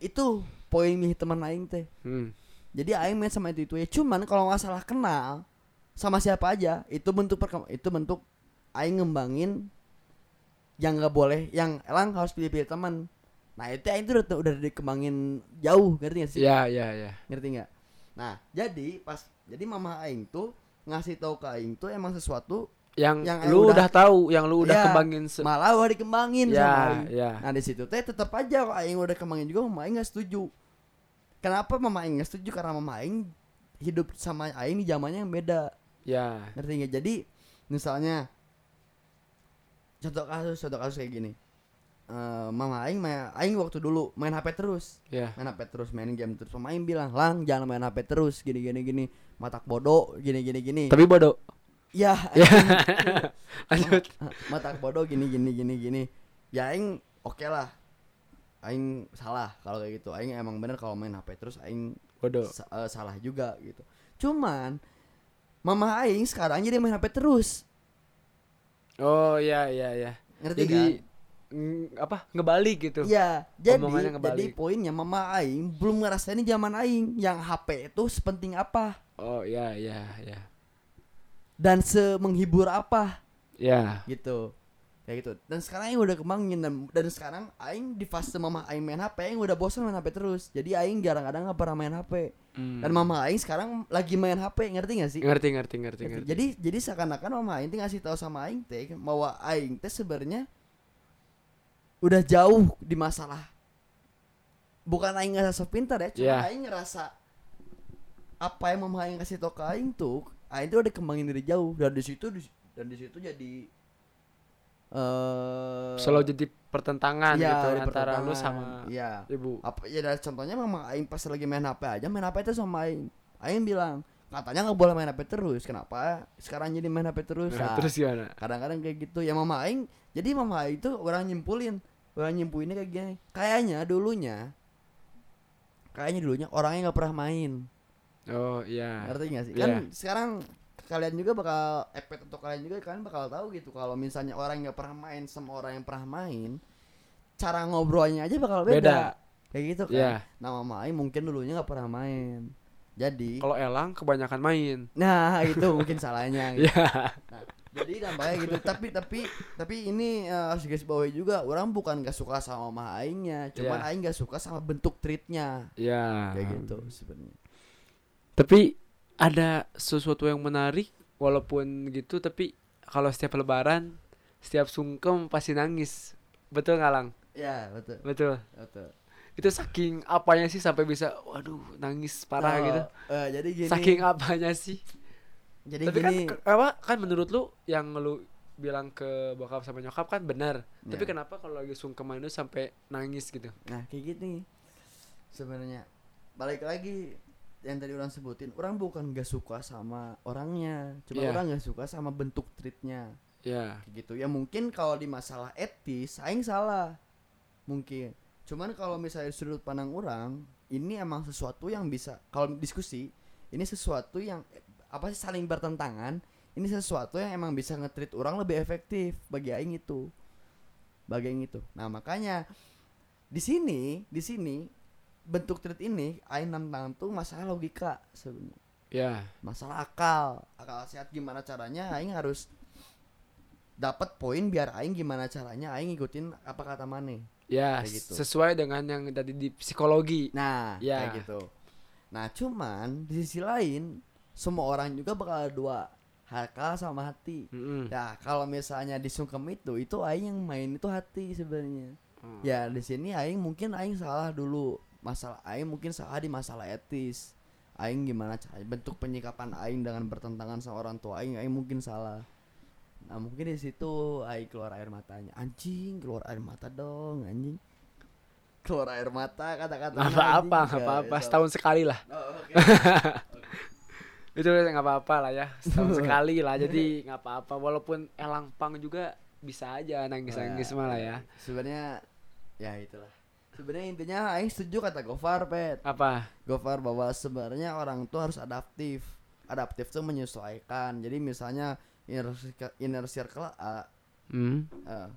S3: itu poin milih teman aing teh.
S2: Hmm.
S3: Jadi aing main sama itu-itu ya. Cuman kalau masalah kenal sama siapa aja, itu bentuk perkemb- itu bentuk aing ngembangin yang nggak boleh, yang elang harus pilih-pilih teman. Nah, itu aing tuh udah, udah dikembangin jauh, ngerti gak sih?
S2: Ya ya ya.
S3: ngerti nggak nah jadi pas jadi mama aing tuh ngasih tahu ke aing tuh emang sesuatu
S2: Yang,
S3: Yang
S2: lu
S3: udah-
S2: udah tahu, yang lu udah
S3: Ya,
S2: kembangin se-
S3: malah udah dikembangin
S2: Ya,
S3: sama aing
S2: ya.
S3: nah di situ teh tetap aja kok aing udah kembangin juga mama aing nggak setuju kenapa mama aing nggak setuju karena mama aing hidup sama aing di zamannya yang beda
S2: ya.
S3: ngerti nggak jadi misalnya contoh kasus contoh kasus kayak gini Eh, mama aing main, aing waktu dulu main HP terus
S2: Ya.
S3: main HP terus main game terus pemain bilang lang jangan main HP terus gini gini gini matak bodoh gini gini gini
S2: Tapi bodoh.
S3: ya
S2: Ya. Lanjut.
S3: matak bodoh gini gini gini gini ya aing oke lah aing salah kalau kayak gitu aing emang bener kalau main HP terus aing
S2: Bodoh.
S3: sa- eh, salah juga gitu cuman mama aing sekarang jadi main HP terus
S2: Oh ya ya ya.
S3: ngerti kan
S2: Jadi ng- apa? Ngebalik gitu.
S3: Iya, jadi
S2: Omongannya
S3: jadi
S2: ngebalik.
S3: poinnya mama aing belum ngerasain zaman aing yang HP itu sepenting apa
S2: Oh ya ya ya.
S3: dan semenghibur apa
S2: Ya.
S3: gitu kayak gitu dan sekarang aing udah kembangin dan, dan sekarang aing di fase mama aing main HP aing udah bosan main HP terus jadi aing jarang-jarang nggak pernah main HP
S2: Hmm.
S3: dan mama aing sekarang lagi main HP ngerti gak sih
S2: Ngerti ngerti ngerti
S3: Ngerti.
S2: ngerti.
S3: jadi jadi seakan-akan mama aing teh ngasih tahu sama aing teh bahwa aing teh sebenarnya udah jauh di masalah bukan aing ngerasa pintar ya cuma
S2: Yeah.
S3: aing ngerasa apa yang mama aing kasih tahu ke aing tuh aing tuh udah kembangin dari jauh dan di situ di- dan di situ jadi eh
S2: Selalu jadi pertentangan
S3: ya,
S2: gitu
S3: di
S2: antara lu
S3: pertentangan.
S2: sama
S3: Iya.
S2: ibu.
S3: apa ya dari contohnya mama aing pas lagi main HP aja main HP itu sama aing aing bilang katanya nggak boleh main HP terus kenapa sekarang jadi main HP terus
S2: Nah,
S3: Nah,
S2: terus gimana?
S3: kadang-kadang kayak gitu ya mama aing jadi mama aing itu orang nyimpulin orang nyimpulinnya kayak gini kayaknya dulunya kayaknya dulunya orangnya nggak pernah main
S2: Oh iya.
S3: ngerti gak sih
S2: Iya.
S3: kan sekarang kalian juga bakal efek untuk kalian juga kalian bakal tahu gitu kalau misalnya orang nggak pernah main sama orang yang pernah main cara ngobrolnya aja bakal beda,
S2: Beda.
S3: kayak gitu kan
S2: Iya.
S3: nah mama aing mungkin dulunya nggak pernah main jadi
S2: Kalau Elang kebanyakan main.
S3: nah itu mungkin salahnya gitu.
S2: Iya.
S3: Nah, jadi nampaknya gitu tapi tapi tapi ini eh, harus guys bawahi juga orang bukan gak suka sama mah aingnya cuman
S2: Iya.
S3: aing gak suka sama bentuk treatnya
S2: ya
S3: kayak gitu sebenarnya
S2: tapi ada sesuatu yang menarik walaupun gitu tapi kalau setiap lebaran setiap sungkem pasti nangis betul nggak lang
S3: ya betul
S2: betul
S3: betul
S2: itu saking apanya sih sampai bisa waduh nangis parah
S3: Nah,
S2: gitu
S3: eh, jadi gini
S2: saking apanya sih
S3: jadi
S2: tapi
S3: gini
S2: kan ke- apa kan menurut lu yang lu bilang ke bokap sama nyokap kan benar tapi
S3: Ya.
S2: kenapa kalau lagi sungkeman itu sampai nangis gitu
S3: Nah kayak gini sebenarnya balik lagi yang tadi orang sebutin orang bukan gak suka sama orangnya cuma
S2: Iya.
S3: orang gak suka sama bentuk treatnya
S2: ya
S3: Kayak gitu ya mungkin kalau di masalah etis saing salah mungkin cuman kalau misalnya dari sudut pandang orang ini emang sesuatu yang bisa kalau diskusi ini sesuatu yang apa sih saling bertentangan ini sesuatu yang emang bisa nge-treat orang lebih efektif bagi aing itu bagi aing itu nah makanya di sini di sini bentuk treat ini aing nantang tuh masalah logika sebenarnya
S2: ya
S3: masalah akal akal sehat gimana caranya aing harus dapat poin biar aing gimana caranya aing ngikutin apa kata Mane
S2: ya
S3: Kayak gitu.
S2: sesuai dengan yang tadi di psikologi
S3: nah
S2: Ya.
S3: kayak gitu nah cuman di sisi lain semua orang juga bakal ada dua akal sama hati
S2: Mm-mm.
S3: Nah, kalau misalnya di sungkem itu, itu aing yang main itu hati sebenarnya.
S2: Hmm.
S3: Ya, di sini aing mungkin aing salah dulu. Masalah aing mungkin salah di masalah etis. Aing gimana cara bentuk penyikapan aing dengan bertentangan sama orang tua aing, aing mungkin salah. Nah, mungkin di situ aing keluar air matanya. Anjing, keluar air mata dong, anjing. Keluar air mata kata-kata.
S2: Nggak apa-apa
S3: anjing.
S2: nggak
S3: Ya,
S2: apa-apa
S3: itu.
S2: setahun sekali lah
S3: Oh, oke.
S2: itu nggak apa-apa lah ya setahun sekali lah jadi nggak apa-apa walaupun elang pang juga bisa aja nangis nangis
S3: Oh,
S2: malah ya
S3: Sebenarnya ya itulah. Sebenarnya intinya aing setuju kata Gofar, Pet.
S2: apa
S3: Gofar bahwa sebenarnya orang tuh harus adaptif. Adaptif tuh menyesuaikan. Jadi misalnya inner circle, inner circle A,
S2: Hmm.
S3: eh,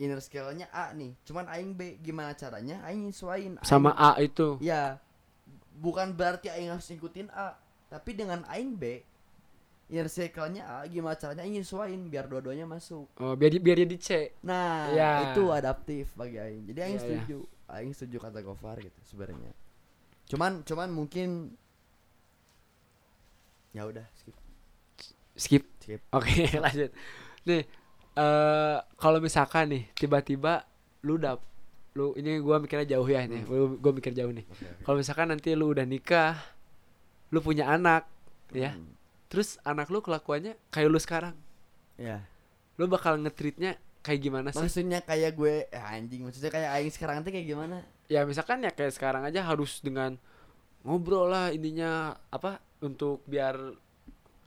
S3: inner circle-nya A nih. Cuman aing B gimana caranya aing nyesuaiin Aing-
S2: sama A itu
S3: Ya. Bukan berarti aing harus ngikutin A, tapi dengan aing B inner circle-nya A gimana caranya aing nyesuaiin biar dua-duanya masuk.
S2: oh, biar di- biar dia di C
S3: Nah,
S2: Ya.
S3: itu adaptif bagi aing. Jadi aing
S2: Ya, ya.
S3: setuju. Aing setuju kata Gofar gitu sebenarnya. Cuman cuman mungkin ya udah skip
S2: skip
S3: skip.
S2: Oke lanjut. Nih eh kalau misalkan nih tiba-tiba lu dap lu ini gua mikirnya jauh ya nih. Gua, gua mikir jauh nih.
S3: Hmm. Oke, oke.
S2: Kalau misalkan nanti lu udah nikah, lu punya anak, ya.
S3: Hmm.
S2: Terus anak lu kelakuannya kayak lu sekarang.
S3: Ya.
S2: Lu bakal ngetritnya kayak gimana sih?
S3: Maksudnya kayak gue eh, anjing, maksudnya kayak aing sekarang tuh kayak gimana?
S2: Ya misalkan ya kayak sekarang aja harus dengan ngobrol lah intinya apa untuk biar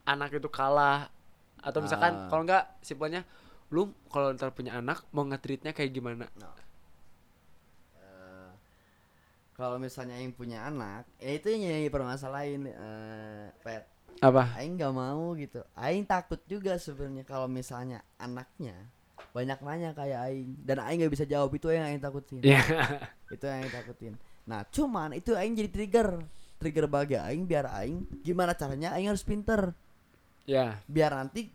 S2: anak itu kalah atau misalkan
S3: Ah.
S2: kalau enggak simpelnya lu kalau ntar punya anak mau ngetritnya kayak gimana?
S3: Eh, kalau misalnya aing punya anak, ya itu yang jadi permasalahin eh pet.
S2: Apa?
S3: Aing nggak mau gitu. Aing takut juga sebenarnya kalau misalnya anaknya banyak nanya kayak Aing dan Aing nggak bisa jawab itu yang Aing takutin.
S2: Ya.
S3: Itu yang Aing takutin. Nah cuman itu Aing jadi trigger, trigger bagi Aing biar Aing gimana caranya Aing harus pinter
S2: Ya.
S3: biar nanti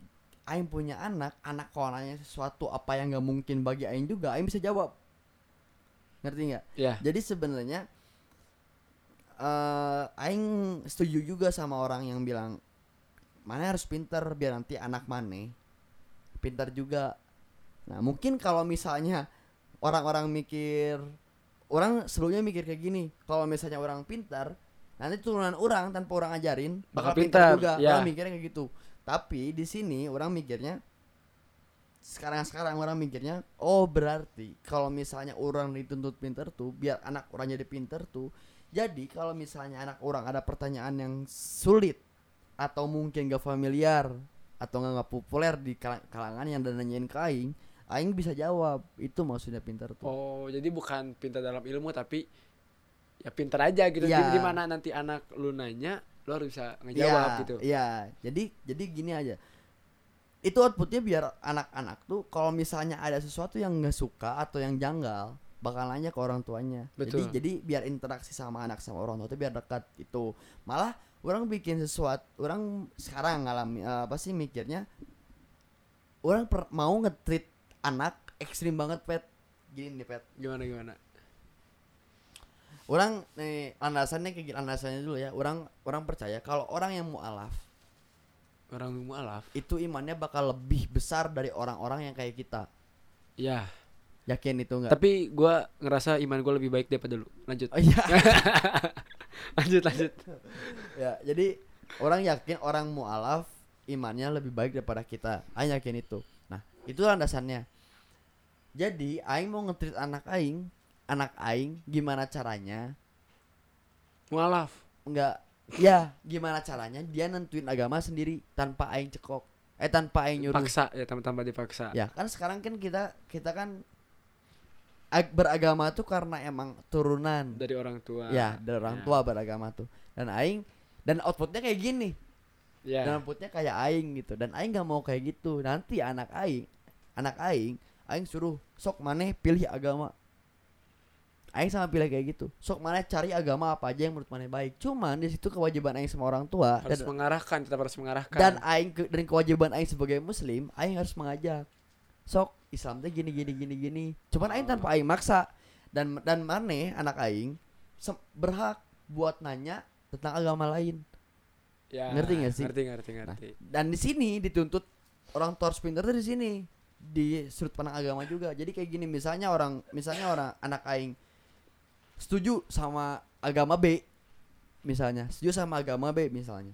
S3: Aing punya anak, anak kalau nanya sesuatu apa yang nggak mungkin bagi Aing juga Aing bisa jawab. Ngerti nggak?
S2: Ya.
S3: Jadi sebenarnya eh aing setuju juga sama orang yang bilang mana harus pinter biar nanti anak mana pintar juga. Nah, mungkin kalau misalnya orang-orang mikir orang sebelumnya mikir kayak gini, kalau misalnya orang pintar nanti turunan orang tanpa orang ajarin bakal
S2: Bakal
S3: pintar
S2: pintar,
S3: juga.
S2: ya.
S3: Orang mikirnya kayak gitu. Tapi di sini orang mikirnya sekarang-sekarang orang mikirnya oh berarti kalau misalnya orang dituntut pinter tuh biar anak orang jadi pinter tuh jadi kalau misalnya anak orang ada pertanyaan yang sulit atau mungkin gak familiar atau nggak nggak populer di kala- kalangan yang dan nanyain ke Aing Aing bisa jawab itu maksudnya pinter tuh
S2: Oh, jadi bukan pintar dalam ilmu tapi ya pintar aja gitu.
S3: Ya.
S2: Di Dimana nanti anak lu nanya, lu harus bisa
S3: Iya,
S2: ngejawab gitu.
S3: Iya, jadi jadi gini aja. Itu outputnya biar anak-anak tuh kalau misalnya ada sesuatu yang nggak suka atau yang janggal, bakal nanya ke orang tuanya.
S2: Betul.
S3: Jadi jadi biar interaksi sama anak sama orang tua tuh biar dekat gitu. itu. Malah orang bikin sesuatu, orang sekarang ngalami eh, apa sih mikirnya? orang per- mau nge-treat anak ekstrim banget pet gini nih pet
S2: Gimana gimana?
S3: orang nih landasannya kayak gini, landasannya dulu ya orang orang percaya kalau orang yang mualaf
S2: Orang mualaf.
S3: itu imannya bakal lebih besar dari orang-orang yang kayak kita
S2: Ya.
S3: yakin itu enggak
S2: Tapi gua ngerasa iman gua lebih baik daripada lu. Lanjut.
S3: oh, iya
S2: lanjut lanjut.
S3: ya jadi orang yakin orang mualaf imannya lebih baik daripada kita aing yakin itu nah itu landasannya jadi aing mau ngetrit anak aing anak aing gimana caranya
S2: Mualaf.
S3: enggak ya gimana caranya dia nentuin agama sendiri tanpa aing cekok eh tanpa aing nyuruh
S2: Paksa ya tambah-tambah dipaksa.
S3: ya kan sekarang kan kita kita kan ag- beragama tuh karena emang turunan
S2: Dari orang tua.
S3: ya dari orang
S2: Ya.
S3: tua beragama tuh dan aing dan outputnya kayak gini
S2: Ya.
S3: dan outputnya kayak aing gitu dan aing nggak mau kayak gitu nanti anak aing anak aing aing suruh sok maneh pilih agama aing sama pilih kayak gitu sok maneh cari agama apa aja yang menurut maneh baik cuman di situ kewajiban aing sama orang tua
S2: harus
S3: dan,
S2: mengarahkan, tetap harus mengarahkan.
S3: dan aing ke, dan kewajiban aing sebagai muslim aing harus mengajak sok Islam teh gini gini gini gini cuman aing tanpa aing maksa dan dan maneh anak aing se- berhak buat nanya tentang agama lain
S2: Ya,
S3: Ngerti nggak sih?
S2: Ngerti ngerti ngerti.
S3: Nah. dan di sini dituntut orang tor pinter tuh di sini di sudut pandang agama juga jadi kayak gini misalnya orang misalnya orang anak aing setuju sama agama B misalnya setuju sama agama B misalnya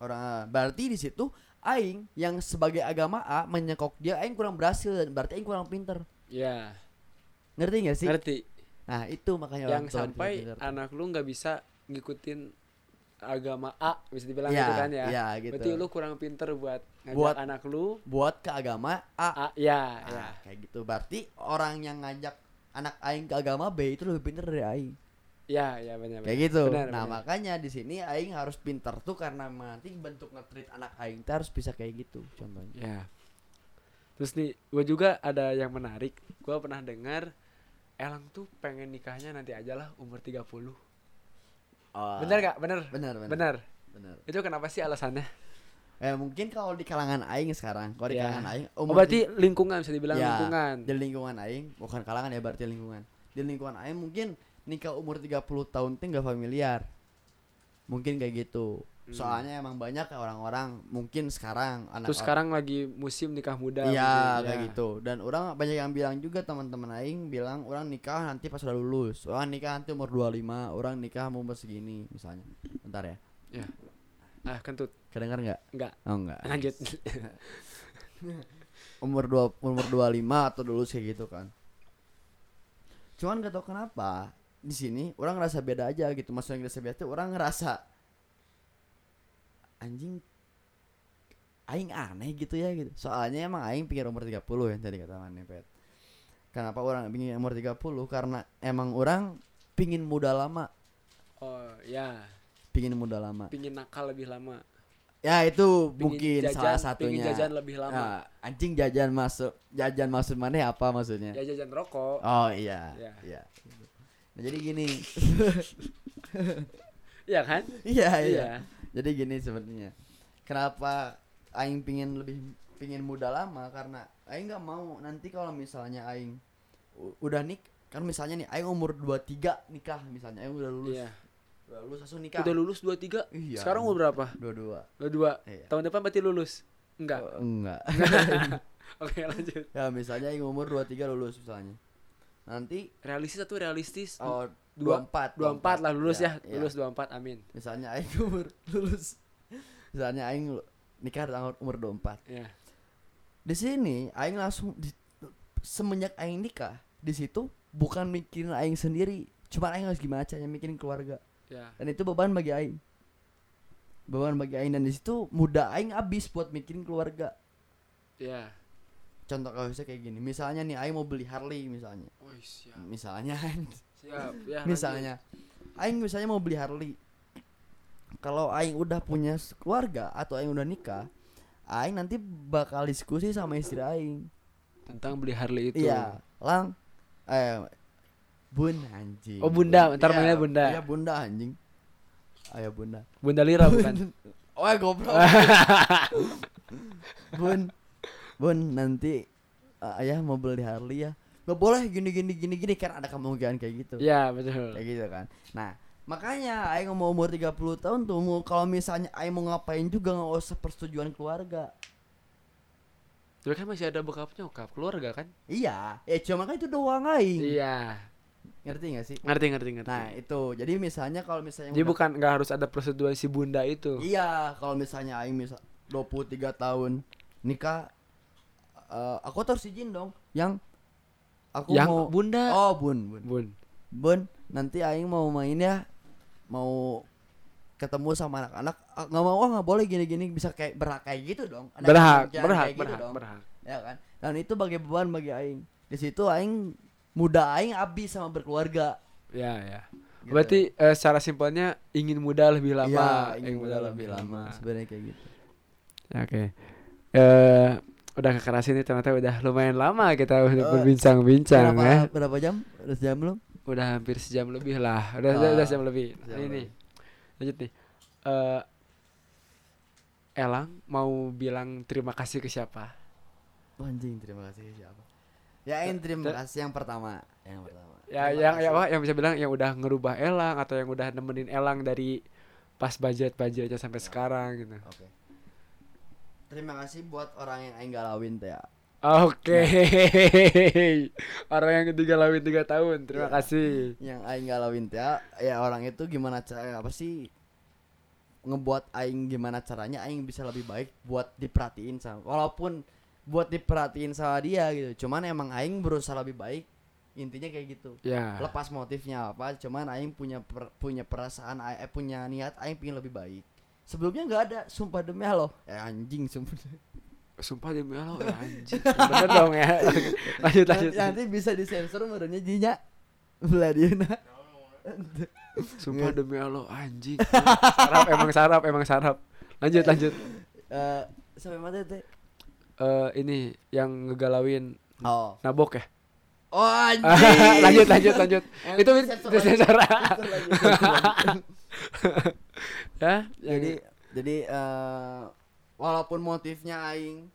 S3: orang ah, berarti di situ aing yang sebagai agama A menyekok dia aing kurang berhasil dan berarti aing kurang pinter
S2: Ya,
S3: ngerti gak sih
S2: ngerti.
S3: nah itu
S2: Yang
S3: makanya orang tua
S2: sampai
S3: pinter-pinter.
S2: anak lu nggak bisa ngikutin agama A bisa dibilang
S3: Ya,
S2: gitu kan ya.
S3: ya, gitu.
S2: Berarti lu kurang pinter buat ngajak
S3: Buat-
S2: anak lu
S3: buat ke agama A
S2: A ya, ya.
S3: Ah, kayak gitu. Berarti orang yang ngajak anak aing ke agama B itu lebih pinter dari aing.
S2: Ya, ya benar
S3: Kayak
S2: benar.
S3: gitu.
S2: Benar,
S3: nah,
S2: benar.
S3: makanya di sini aing harus pinter tuh karena nanti bentuk nge-treat anak aing tuh harus bisa kayak gitu contohnya.
S2: Ya. Terus nih, gue juga ada yang menarik. Gue pernah dengar Elang tuh pengen nikahnya nanti aja lah umur 30.
S3: Oh,
S2: Bener gak? Bener.
S3: Bener, bener.
S2: Bener.
S3: bener.
S2: Itu kenapa sih alasannya?
S3: Eh mungkin kalau di kalangan aing sekarang, kalau di
S2: Ya.
S3: kalangan aing
S2: Oh, berarti lingkungan bisa dibilang
S3: Ya,
S2: lingkungan.
S3: Di lingkungan aing, bukan kalangan ya berarti lingkungan. Di lingkungan aing mungkin nikah umur 30 tahun tuh nggak familiar. Mungkin kayak gitu.
S2: Hmm.
S3: Soalnya emang banyak orang-orang mungkin sekarang anak
S2: Terus sekarang lagi musim nikah muda.
S3: Iya
S2: mungkin,
S3: kayak
S2: ya.
S3: gitu dan orang banyak yang bilang juga teman-teman aing bilang orang nikah nanti pas udah lulus orang nikah nanti umur 25 orang nikah mau umur segini misalnya bentar ya
S2: Ya. Ah, kentut.
S3: kedengar nggak
S2: Enggak.
S3: oh enggak
S2: Lanjut.
S3: umur dua umur 25 atau lulus kayak gitu kan cuman gak tau kenapa di sini orang ngerasa beda aja gitu maksudnya ngerasa beda tuh orang ngerasa anjing aing aneh gitu ya gitu soalnya emang aing pikir umur 30 yang tadi kata Mane, Pet kenapa orang pingin umur 30 karena emang orang pingin muda lama
S2: oh, ya.
S3: pingin muda lama
S2: Pingin nakal lebih lama.
S3: ya itu
S2: Pingin
S3: mungkin
S2: jajan-
S3: salah satunya
S2: Pingin jajan lebih lama.
S3: Nah, anjing jajan masuk jajan maksud Mane apa maksudnya
S2: Ya jajan rokok.
S3: Oh iya.
S2: Ya.
S3: Iya. Nah, jadi gini.
S2: Iya kan?
S3: iya, iya.
S2: Iya.
S3: Jadi gini sebenarnya. Kenapa aing pingin lebih pingin muda lama karena aing nggak mau nanti kalau misalnya aing u- udah nik kan misalnya nih aing umur 23 nikah misalnya aing udah lulus.
S2: Iya.
S3: Udah lulus langsung nikah.
S2: Udah lulus 23.
S3: Iya.
S2: Sekarang umur berapa?
S3: 22.
S2: 22.
S3: Iya.
S2: Tahun depan berarti lulus. Enggak.
S3: Oh, enggak.
S2: Oke, lanjut.
S3: ya misalnya aing umur 23 lulus misalnya. Nanti
S2: Realistis atau realistis?
S3: oh,
S2: Dua-
S3: 24
S2: 24 lah lulus ya.
S3: iya.
S2: Lulus 24. Amin.
S3: misalnya aing umur lulus misalnya aing lu- nikah tanggal umur 24
S2: Ya.
S3: di sini aing langsung di- semenjak aing nikah di situ bukan mikirin aing sendiri cuma aing harus gimana caranya mikirin keluarga
S2: Ya.
S3: dan itu beban bagi aing beban bagi aing dan di situ muda aing abis buat mikirin keluarga
S2: Ya.
S3: contoh kasusnya kayak gini misalnya nih aing mau beli Harley misalnya
S2: Oh, siap.
S3: misalnya
S2: Siap. Ya, lanjut.
S3: misalnya aing misalnya mau beli Harley kalau aing udah punya s- keluarga atau aing udah nikah aing nanti bakal diskusi sama istri aing
S2: tentang beli Harley itu.
S3: iya lang eh bun anjing
S2: Oh, bunda. Ntar
S3: Iya,
S2: manggilnya bunda.
S3: iya bunda anjing ayo bunda
S2: Bunda Lira bukan?
S3: oh goblok bun Bun nanti uh, ayah mau beli Harley ya nggak boleh gini gini gini gini kan ada kemungkinan kayak gitu
S2: Iya betul.
S3: kayak gitu kan nah makanya Aing mau umur 30 tahun tuh mau kalau misalnya Aing mau ngapain juga nggak usah persetujuan keluarga
S4: Tapi kan masih ada bokap nyokap keluarga kan?
S3: iya ya cuma kan itu doang Aing
S2: Iya.
S3: ngerti gak sih
S4: Ngerti ngerti ngerti.
S3: nah itu jadi misalnya kalau misalnya
S2: Jadi
S3: udah-
S2: bukan nggak harus ada persetujuan si bunda itu.
S3: Iya, kalau misalnya aing misal 23 tahun nikah eh, aku tuh harus izin dong yang aku
S2: Yang
S3: mau
S2: bunda.
S3: Oh, bun, bun.
S2: Bun.
S3: Bun, nanti aing mau main ya. Mau ketemu sama anak-anak Ah, nggak mau ah nggak boleh gini-gini bisa kayak berhak kayak gitu dong Ada
S2: Berhak,
S3: kemungkinan
S2: berhak,
S3: kayak gitu
S2: berhak,
S3: dong.
S2: berhak.
S3: ya kan dan itu bagi beban bagi aing di situ aing muda aing abis sama berkeluarga
S2: Ya, ya.
S3: Gitu.
S2: Berarti eh, secara simpelnya ingin muda lebih lama,
S3: Iya, ingin muda lebih lama sebenarnya kayak gitu
S2: Oke. Eh udah kekerasin nih ternyata udah lumayan lama kita untuk
S3: Eh,
S2: berbincang-bincang
S3: berapa
S2: ya.
S3: berapa jam udah jam belum
S2: Udah hampir sejam lebih lah. Udah udah,
S3: Ah,
S2: udah sejam lebih.
S3: sejam
S2: Ini nih. Lanjut nih. Eh Elang mau bilang terima kasih ke siapa?
S3: Wah, Anjing terima kasih siapa? Ya yang terima
S2: Ter-
S3: kasih yang pertama, yang pertama.
S2: Ya
S3: Terima
S2: yang ya,
S3: kasih.
S2: wah, yang bisa bilang yang udah ngerubah Elang atau yang udah nemenin Elang dari pas budget budgetnya sampai
S3: Ya.
S2: sekarang gitu.
S3: Oke. Terima kasih buat orang yang aing galauin teh. ya.
S2: Oke. Orang yang ketiga lawin tiga tahun. Terima
S3: Iya.
S2: kasih.
S3: Yang aing galauin teh ya, ya orang itu gimana cara apa sih ngebuat aing gimana caranya aing bisa lebih baik buat diperhatiin sama walaupun buat diperhatiin sama dia gitu. Cuman emang aing berusaha lebih baik. Intinya kayak gitu.
S2: Ya.
S3: Lepas motifnya apa, cuman aing punya per- punya perasaan ai- eh, punya niat aing pingin lebih baik. Sebelumnya nggak ada, sumpah demi Allah. Eh anjing sumpah.
S4: Sumpah demi Allah ya anjing.
S2: Bener dong ya. Oke, lanjut lanjut.
S3: Nanti, nanti bisa disensor merenya jinya nah. Vladina.
S4: Sumpah demi Allah anjing.
S2: Sarap emang sarap emang sarap.
S3: Iya.
S2: Lanjut lanjut.
S3: Eh sampai mana teh?
S2: Eh ini yang ngegalauin
S3: Oh.
S2: nabok ya.
S3: Oh anjing.
S2: lanjut lanjut lanjut.
S3: Eh,
S2: Itu
S3: sensor
S2: itu
S3: lagi.
S2: sensor.
S3: Sensor lagi, sensor lagi.
S2: Ya. yang-
S3: jadi oh, jadi eh walaupun motifnya aing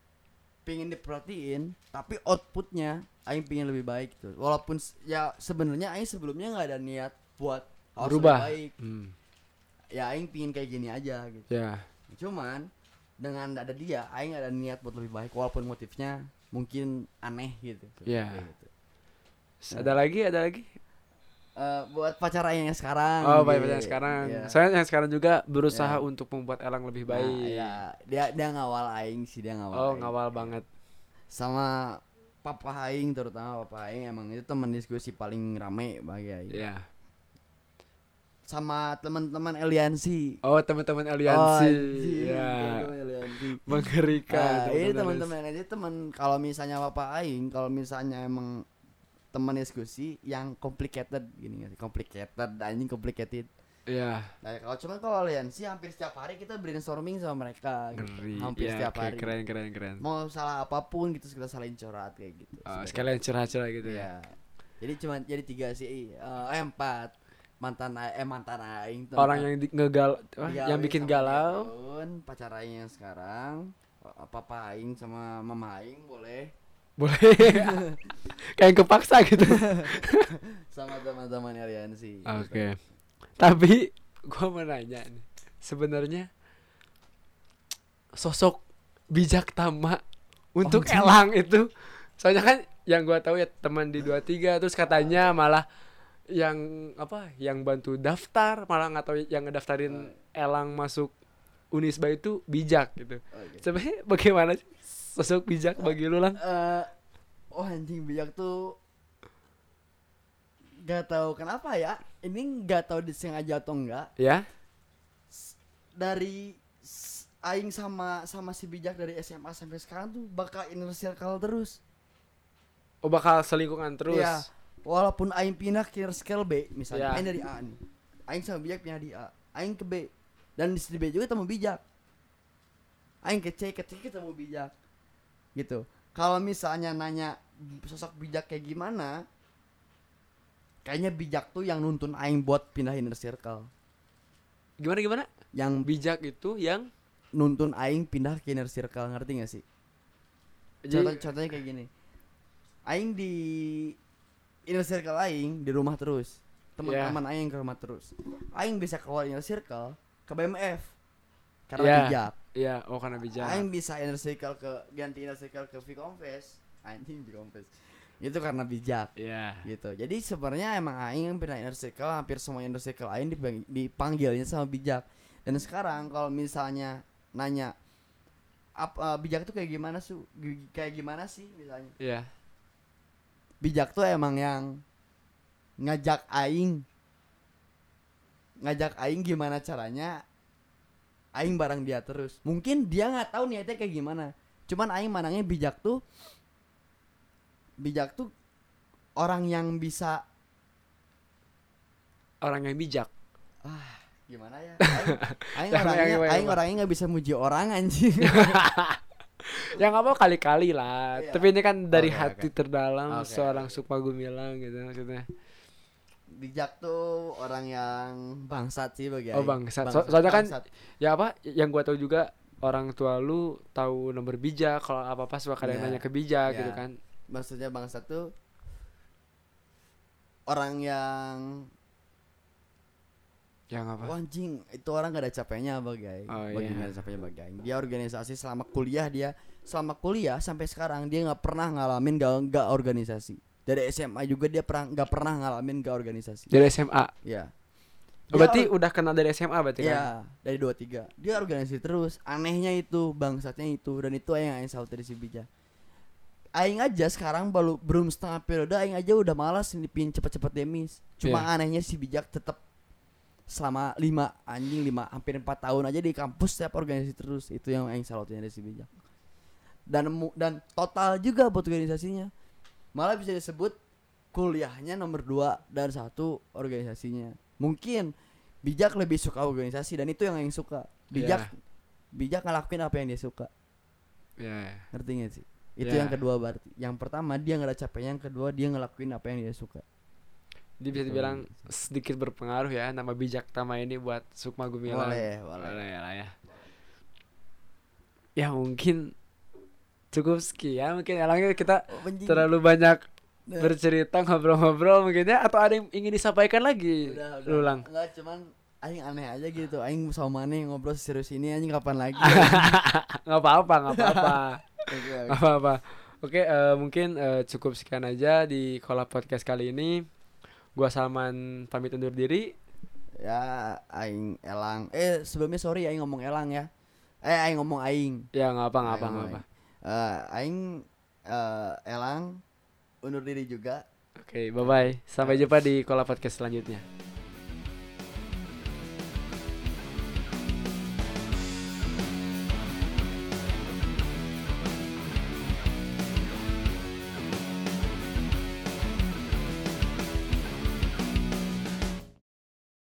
S3: pingin diperhatiin tapi outputnya aing pingin lebih baik tuh walaupun s- ya sebenarnya aing sebelumnya nggak ada niat buat harus lebih
S2: Berubah.
S3: baik
S2: Hmm,
S3: ya aing pingin kayak gini aja gitu
S2: ya.
S3: cuman dengan ada dia aing ada niat buat lebih baik walaupun motifnya mungkin aneh gitu
S2: Iya.
S3: Kayak gitu.
S2: Terus Ada lagi ada lagi.
S3: Eh, buat pacar aing yang sekarang
S2: Oh baik
S3: gitu.
S2: baik yang sekarang.
S3: Iya.
S2: Soalnya yang sekarang juga berusaha
S3: Ya.
S2: untuk membuat Elang lebih
S3: Nah,
S2: baik.
S3: iya. dia dia ngawal aing sih dia ngawal
S2: Oh
S3: aing.
S2: ngawal banget.
S3: sama papa aing terutama papa aing emang itu teman diskusi paling rame bagi aing
S2: Ya.
S3: sama teman-teman aliansi
S2: Oh teman-teman
S3: Oh,
S2: aliansi.
S3: anjing,
S2: ya.
S3: teman-teman aliansi
S2: Mengerikan.
S3: Ah, ini
S2: teman-teman
S3: teman-teman aja teman kalau misalnya papa aing kalau misalnya emang teman diskusi yang complicated gini nggak sih complicated anjing complicated
S2: aliansi. Ya.
S3: nah kalau cuman kalau aliansi hampir setiap hari kita brainstorming sama mereka gitu.
S2: Ngeri.
S3: hampir
S2: ya,
S3: setiap
S2: oke,
S3: hari
S2: Keren keren keren. Eh,
S3: mau salah apapun gitu kita saling corat kayak gitu
S2: Oh,
S3: Sebenarnya.
S2: sekalian curhat-curhat gitu ya.
S3: Iya. Jadi cuma jadi tiga sih, eh, eh, empat mantan a- eh mantan aing tuh.
S2: Orang yang di- ngegal wah,
S3: Tiga
S2: yang
S3: aing
S2: bikin
S3: sama
S2: galau.
S3: tiga tahun, pacar aing yang sekarang, eh, papa aing sama mama aing boleh
S2: Boleh. Kayak yang kepaksa gitu.
S3: sama teman-teman aliansi.
S2: Oke. Iya, Tapi gua mau nanya nih. Sebenarnya sosok bijak Tama untuk Elang itu soalnya kan yang gua tahu ya teman di 23 terus katanya malah yang apa yang bantu daftar malah nggak tahu yang ngedaftarin Elang masuk Unisba itu bijak gitu.
S3: Oke.
S2: Sebenarnya bagaimana sih sosok bijak bagi lu lang?
S3: Eh, oh anjing bijak tuh gak tahu kenapa ya. Ini gak tahu disengaja atau enggak.
S2: Ya?
S3: Dari s- aing sama sama si bijak dari SMA sampai sekarang tuh bakal inner circle terus.
S2: Oh bakal selingkungan terus.
S3: Iya. Walaupun aing pindah ke scale B misalnya,
S2: Iya.
S3: aing dari A nih. Aing sama bijak pindah di A, aing ke B. Dan di B juga ketemu bijak. Aing ke C, ke C ketemu bijak. Gitu. Kalau misalnya nanya sosok bijak kayak gimana, kayaknya bijak tuh yang nuntun aing buat pindah inner circle.
S2: Gimana gimana?
S3: Yang bi-
S2: Bijak itu yang
S3: nuntun aing pindah ke inner circle, ngerti gak sih? Contoh, contohnya kayak gini. Aing di inner circle aing di rumah terus. Teman-teman aing ke rumah terus. Aing bisa keluar inner circle ke BMF. Karena
S2: Iya.
S3: bijak.
S2: Iya, oh karena bijak.
S3: Aing bisa inner circle ke ganti inner circle ke Vkonfes. Anjing Vkonfes. Itu karena bijak
S2: Iya.
S3: gitu. Jadi sebenarnya emang aing pernah inner circle hampir semua inner circle aing dibang- dipanggilnya sama bijak. Dan sekarang kalau misalnya nanya ap, eh, bijak tuh kayak gimana su Gi- kayak gimana sih misalnya
S4: Iya.
S3: bijak tuh emang yang ngajak aing ngajak aing gimana caranya aing bareng dia terus mungkin dia nggak tahu niatnya kayak gimana cuman aing manangnya bijak tuh bijak tuh orang yang bisa
S4: Orang yang bijak.
S3: gimana ya aing aing
S2: Yang-
S3: orangnya
S2: yang- yang-
S3: aing orangnya nggak bisa muji orang anjing
S2: Yang Ya, nggak mau kali-kali lah.
S3: Iya.
S2: Tapi ini kan dari
S3: Oke,
S2: hati terdalam
S3: Oke,
S2: seorang Supa Gumilang gitu maksudnya.
S3: bijak tuh orang yang bangsat sih bagi
S2: Oh,
S3: aing.
S2: bangsat. So- soalnya kan- Ya apa? Yang gua tahu juga orang tua lu tahu nomor bijak kalau apa-apa suka kadang
S3: Iya.
S2: nanya ke bijak
S3: Iya.
S2: gitu kan.
S3: maksudnya bangsat tuh orang yang
S2: Ya,
S4: Yang apa?
S3: "Wah, anjing itu orang gak ada capeknya bagai
S4: Oh, iya.
S3: bagi nggak ada capeknya bagai dia organisasi selama kuliah dia selama kuliah sampai sekarang dia nggak pernah ngalamin gak, gak organisasi dari SMA juga dia pernah nggak pernah ngalamin gak organisasi
S2: Dari SMA.
S3: ya
S2: Oh, berarti udah kenal dari SMA berarti kan?
S3: ya dari dua tiga dia organisasi terus anehnya itu bangsatnya itu dan itu yang aing saut dari si bijak Aing aja sekarang baru belum setengah periode Aing aja udah malas nipin cepet-cepet demis Cuma
S2: Iya.
S3: anehnya si bijak tetap selama lima anjing lima hampir empat tahun aja di kampus setiap organisasi terus itu yang Aing salutnya dari si bijak dan mu- dan total juga buat organisasinya malah bisa disebut kuliahnya nomor dua dan satu organisasinya mungkin bijak lebih suka organisasi dan itu yang Aing suka bijak bijak ngelakuin apa yang dia suka
S4: Iya.
S3: ngerti gak sih itu
S4: Ya.
S3: yang kedua berarti yang pertama dia nggak ada capeknya yang kedua dia ngelakuin apa yang dia suka
S2: Dia
S3: Gitu.
S2: bisa dibilang sedikit berpengaruh ya nama bijak Tama ini buat Sukma Gumilang.
S3: boleh boleh
S4: Boleh lah ya.
S2: Ya mungkin cukup sekian mungkin elangnya kita
S3: Oh, anjing.
S2: terlalu banyak
S3: Nah.
S2: bercerita ngobrol-ngobrol mungkin ya atau ada yang ingin disampaikan lagi
S3: Udah, udah.
S2: Lulang
S3: Enggak, cuman aing aneh aja gitu. Aing sama Mane ngobrol serius ini anjing kapan lagi?
S2: nggak apa-apa nggak apa-apa
S3: Oke, oke.
S2: nggak apa-apa oke eh, mungkin eh, cukup sekian aja di kolab podcast kali ini gua Salman pamit undur diri
S3: ya aing elang. Eh, sebelumnya sorry aing ngomong elang ya. Eh, aing ngomong aing.
S2: ya nggak apa nggak apa nggak
S3: Aing ngomong
S2: apa
S3: Aing, Eh, aing eh, elang undur diri juga.
S2: oke bye bye sampai jumpa di kolab podcast selanjutnya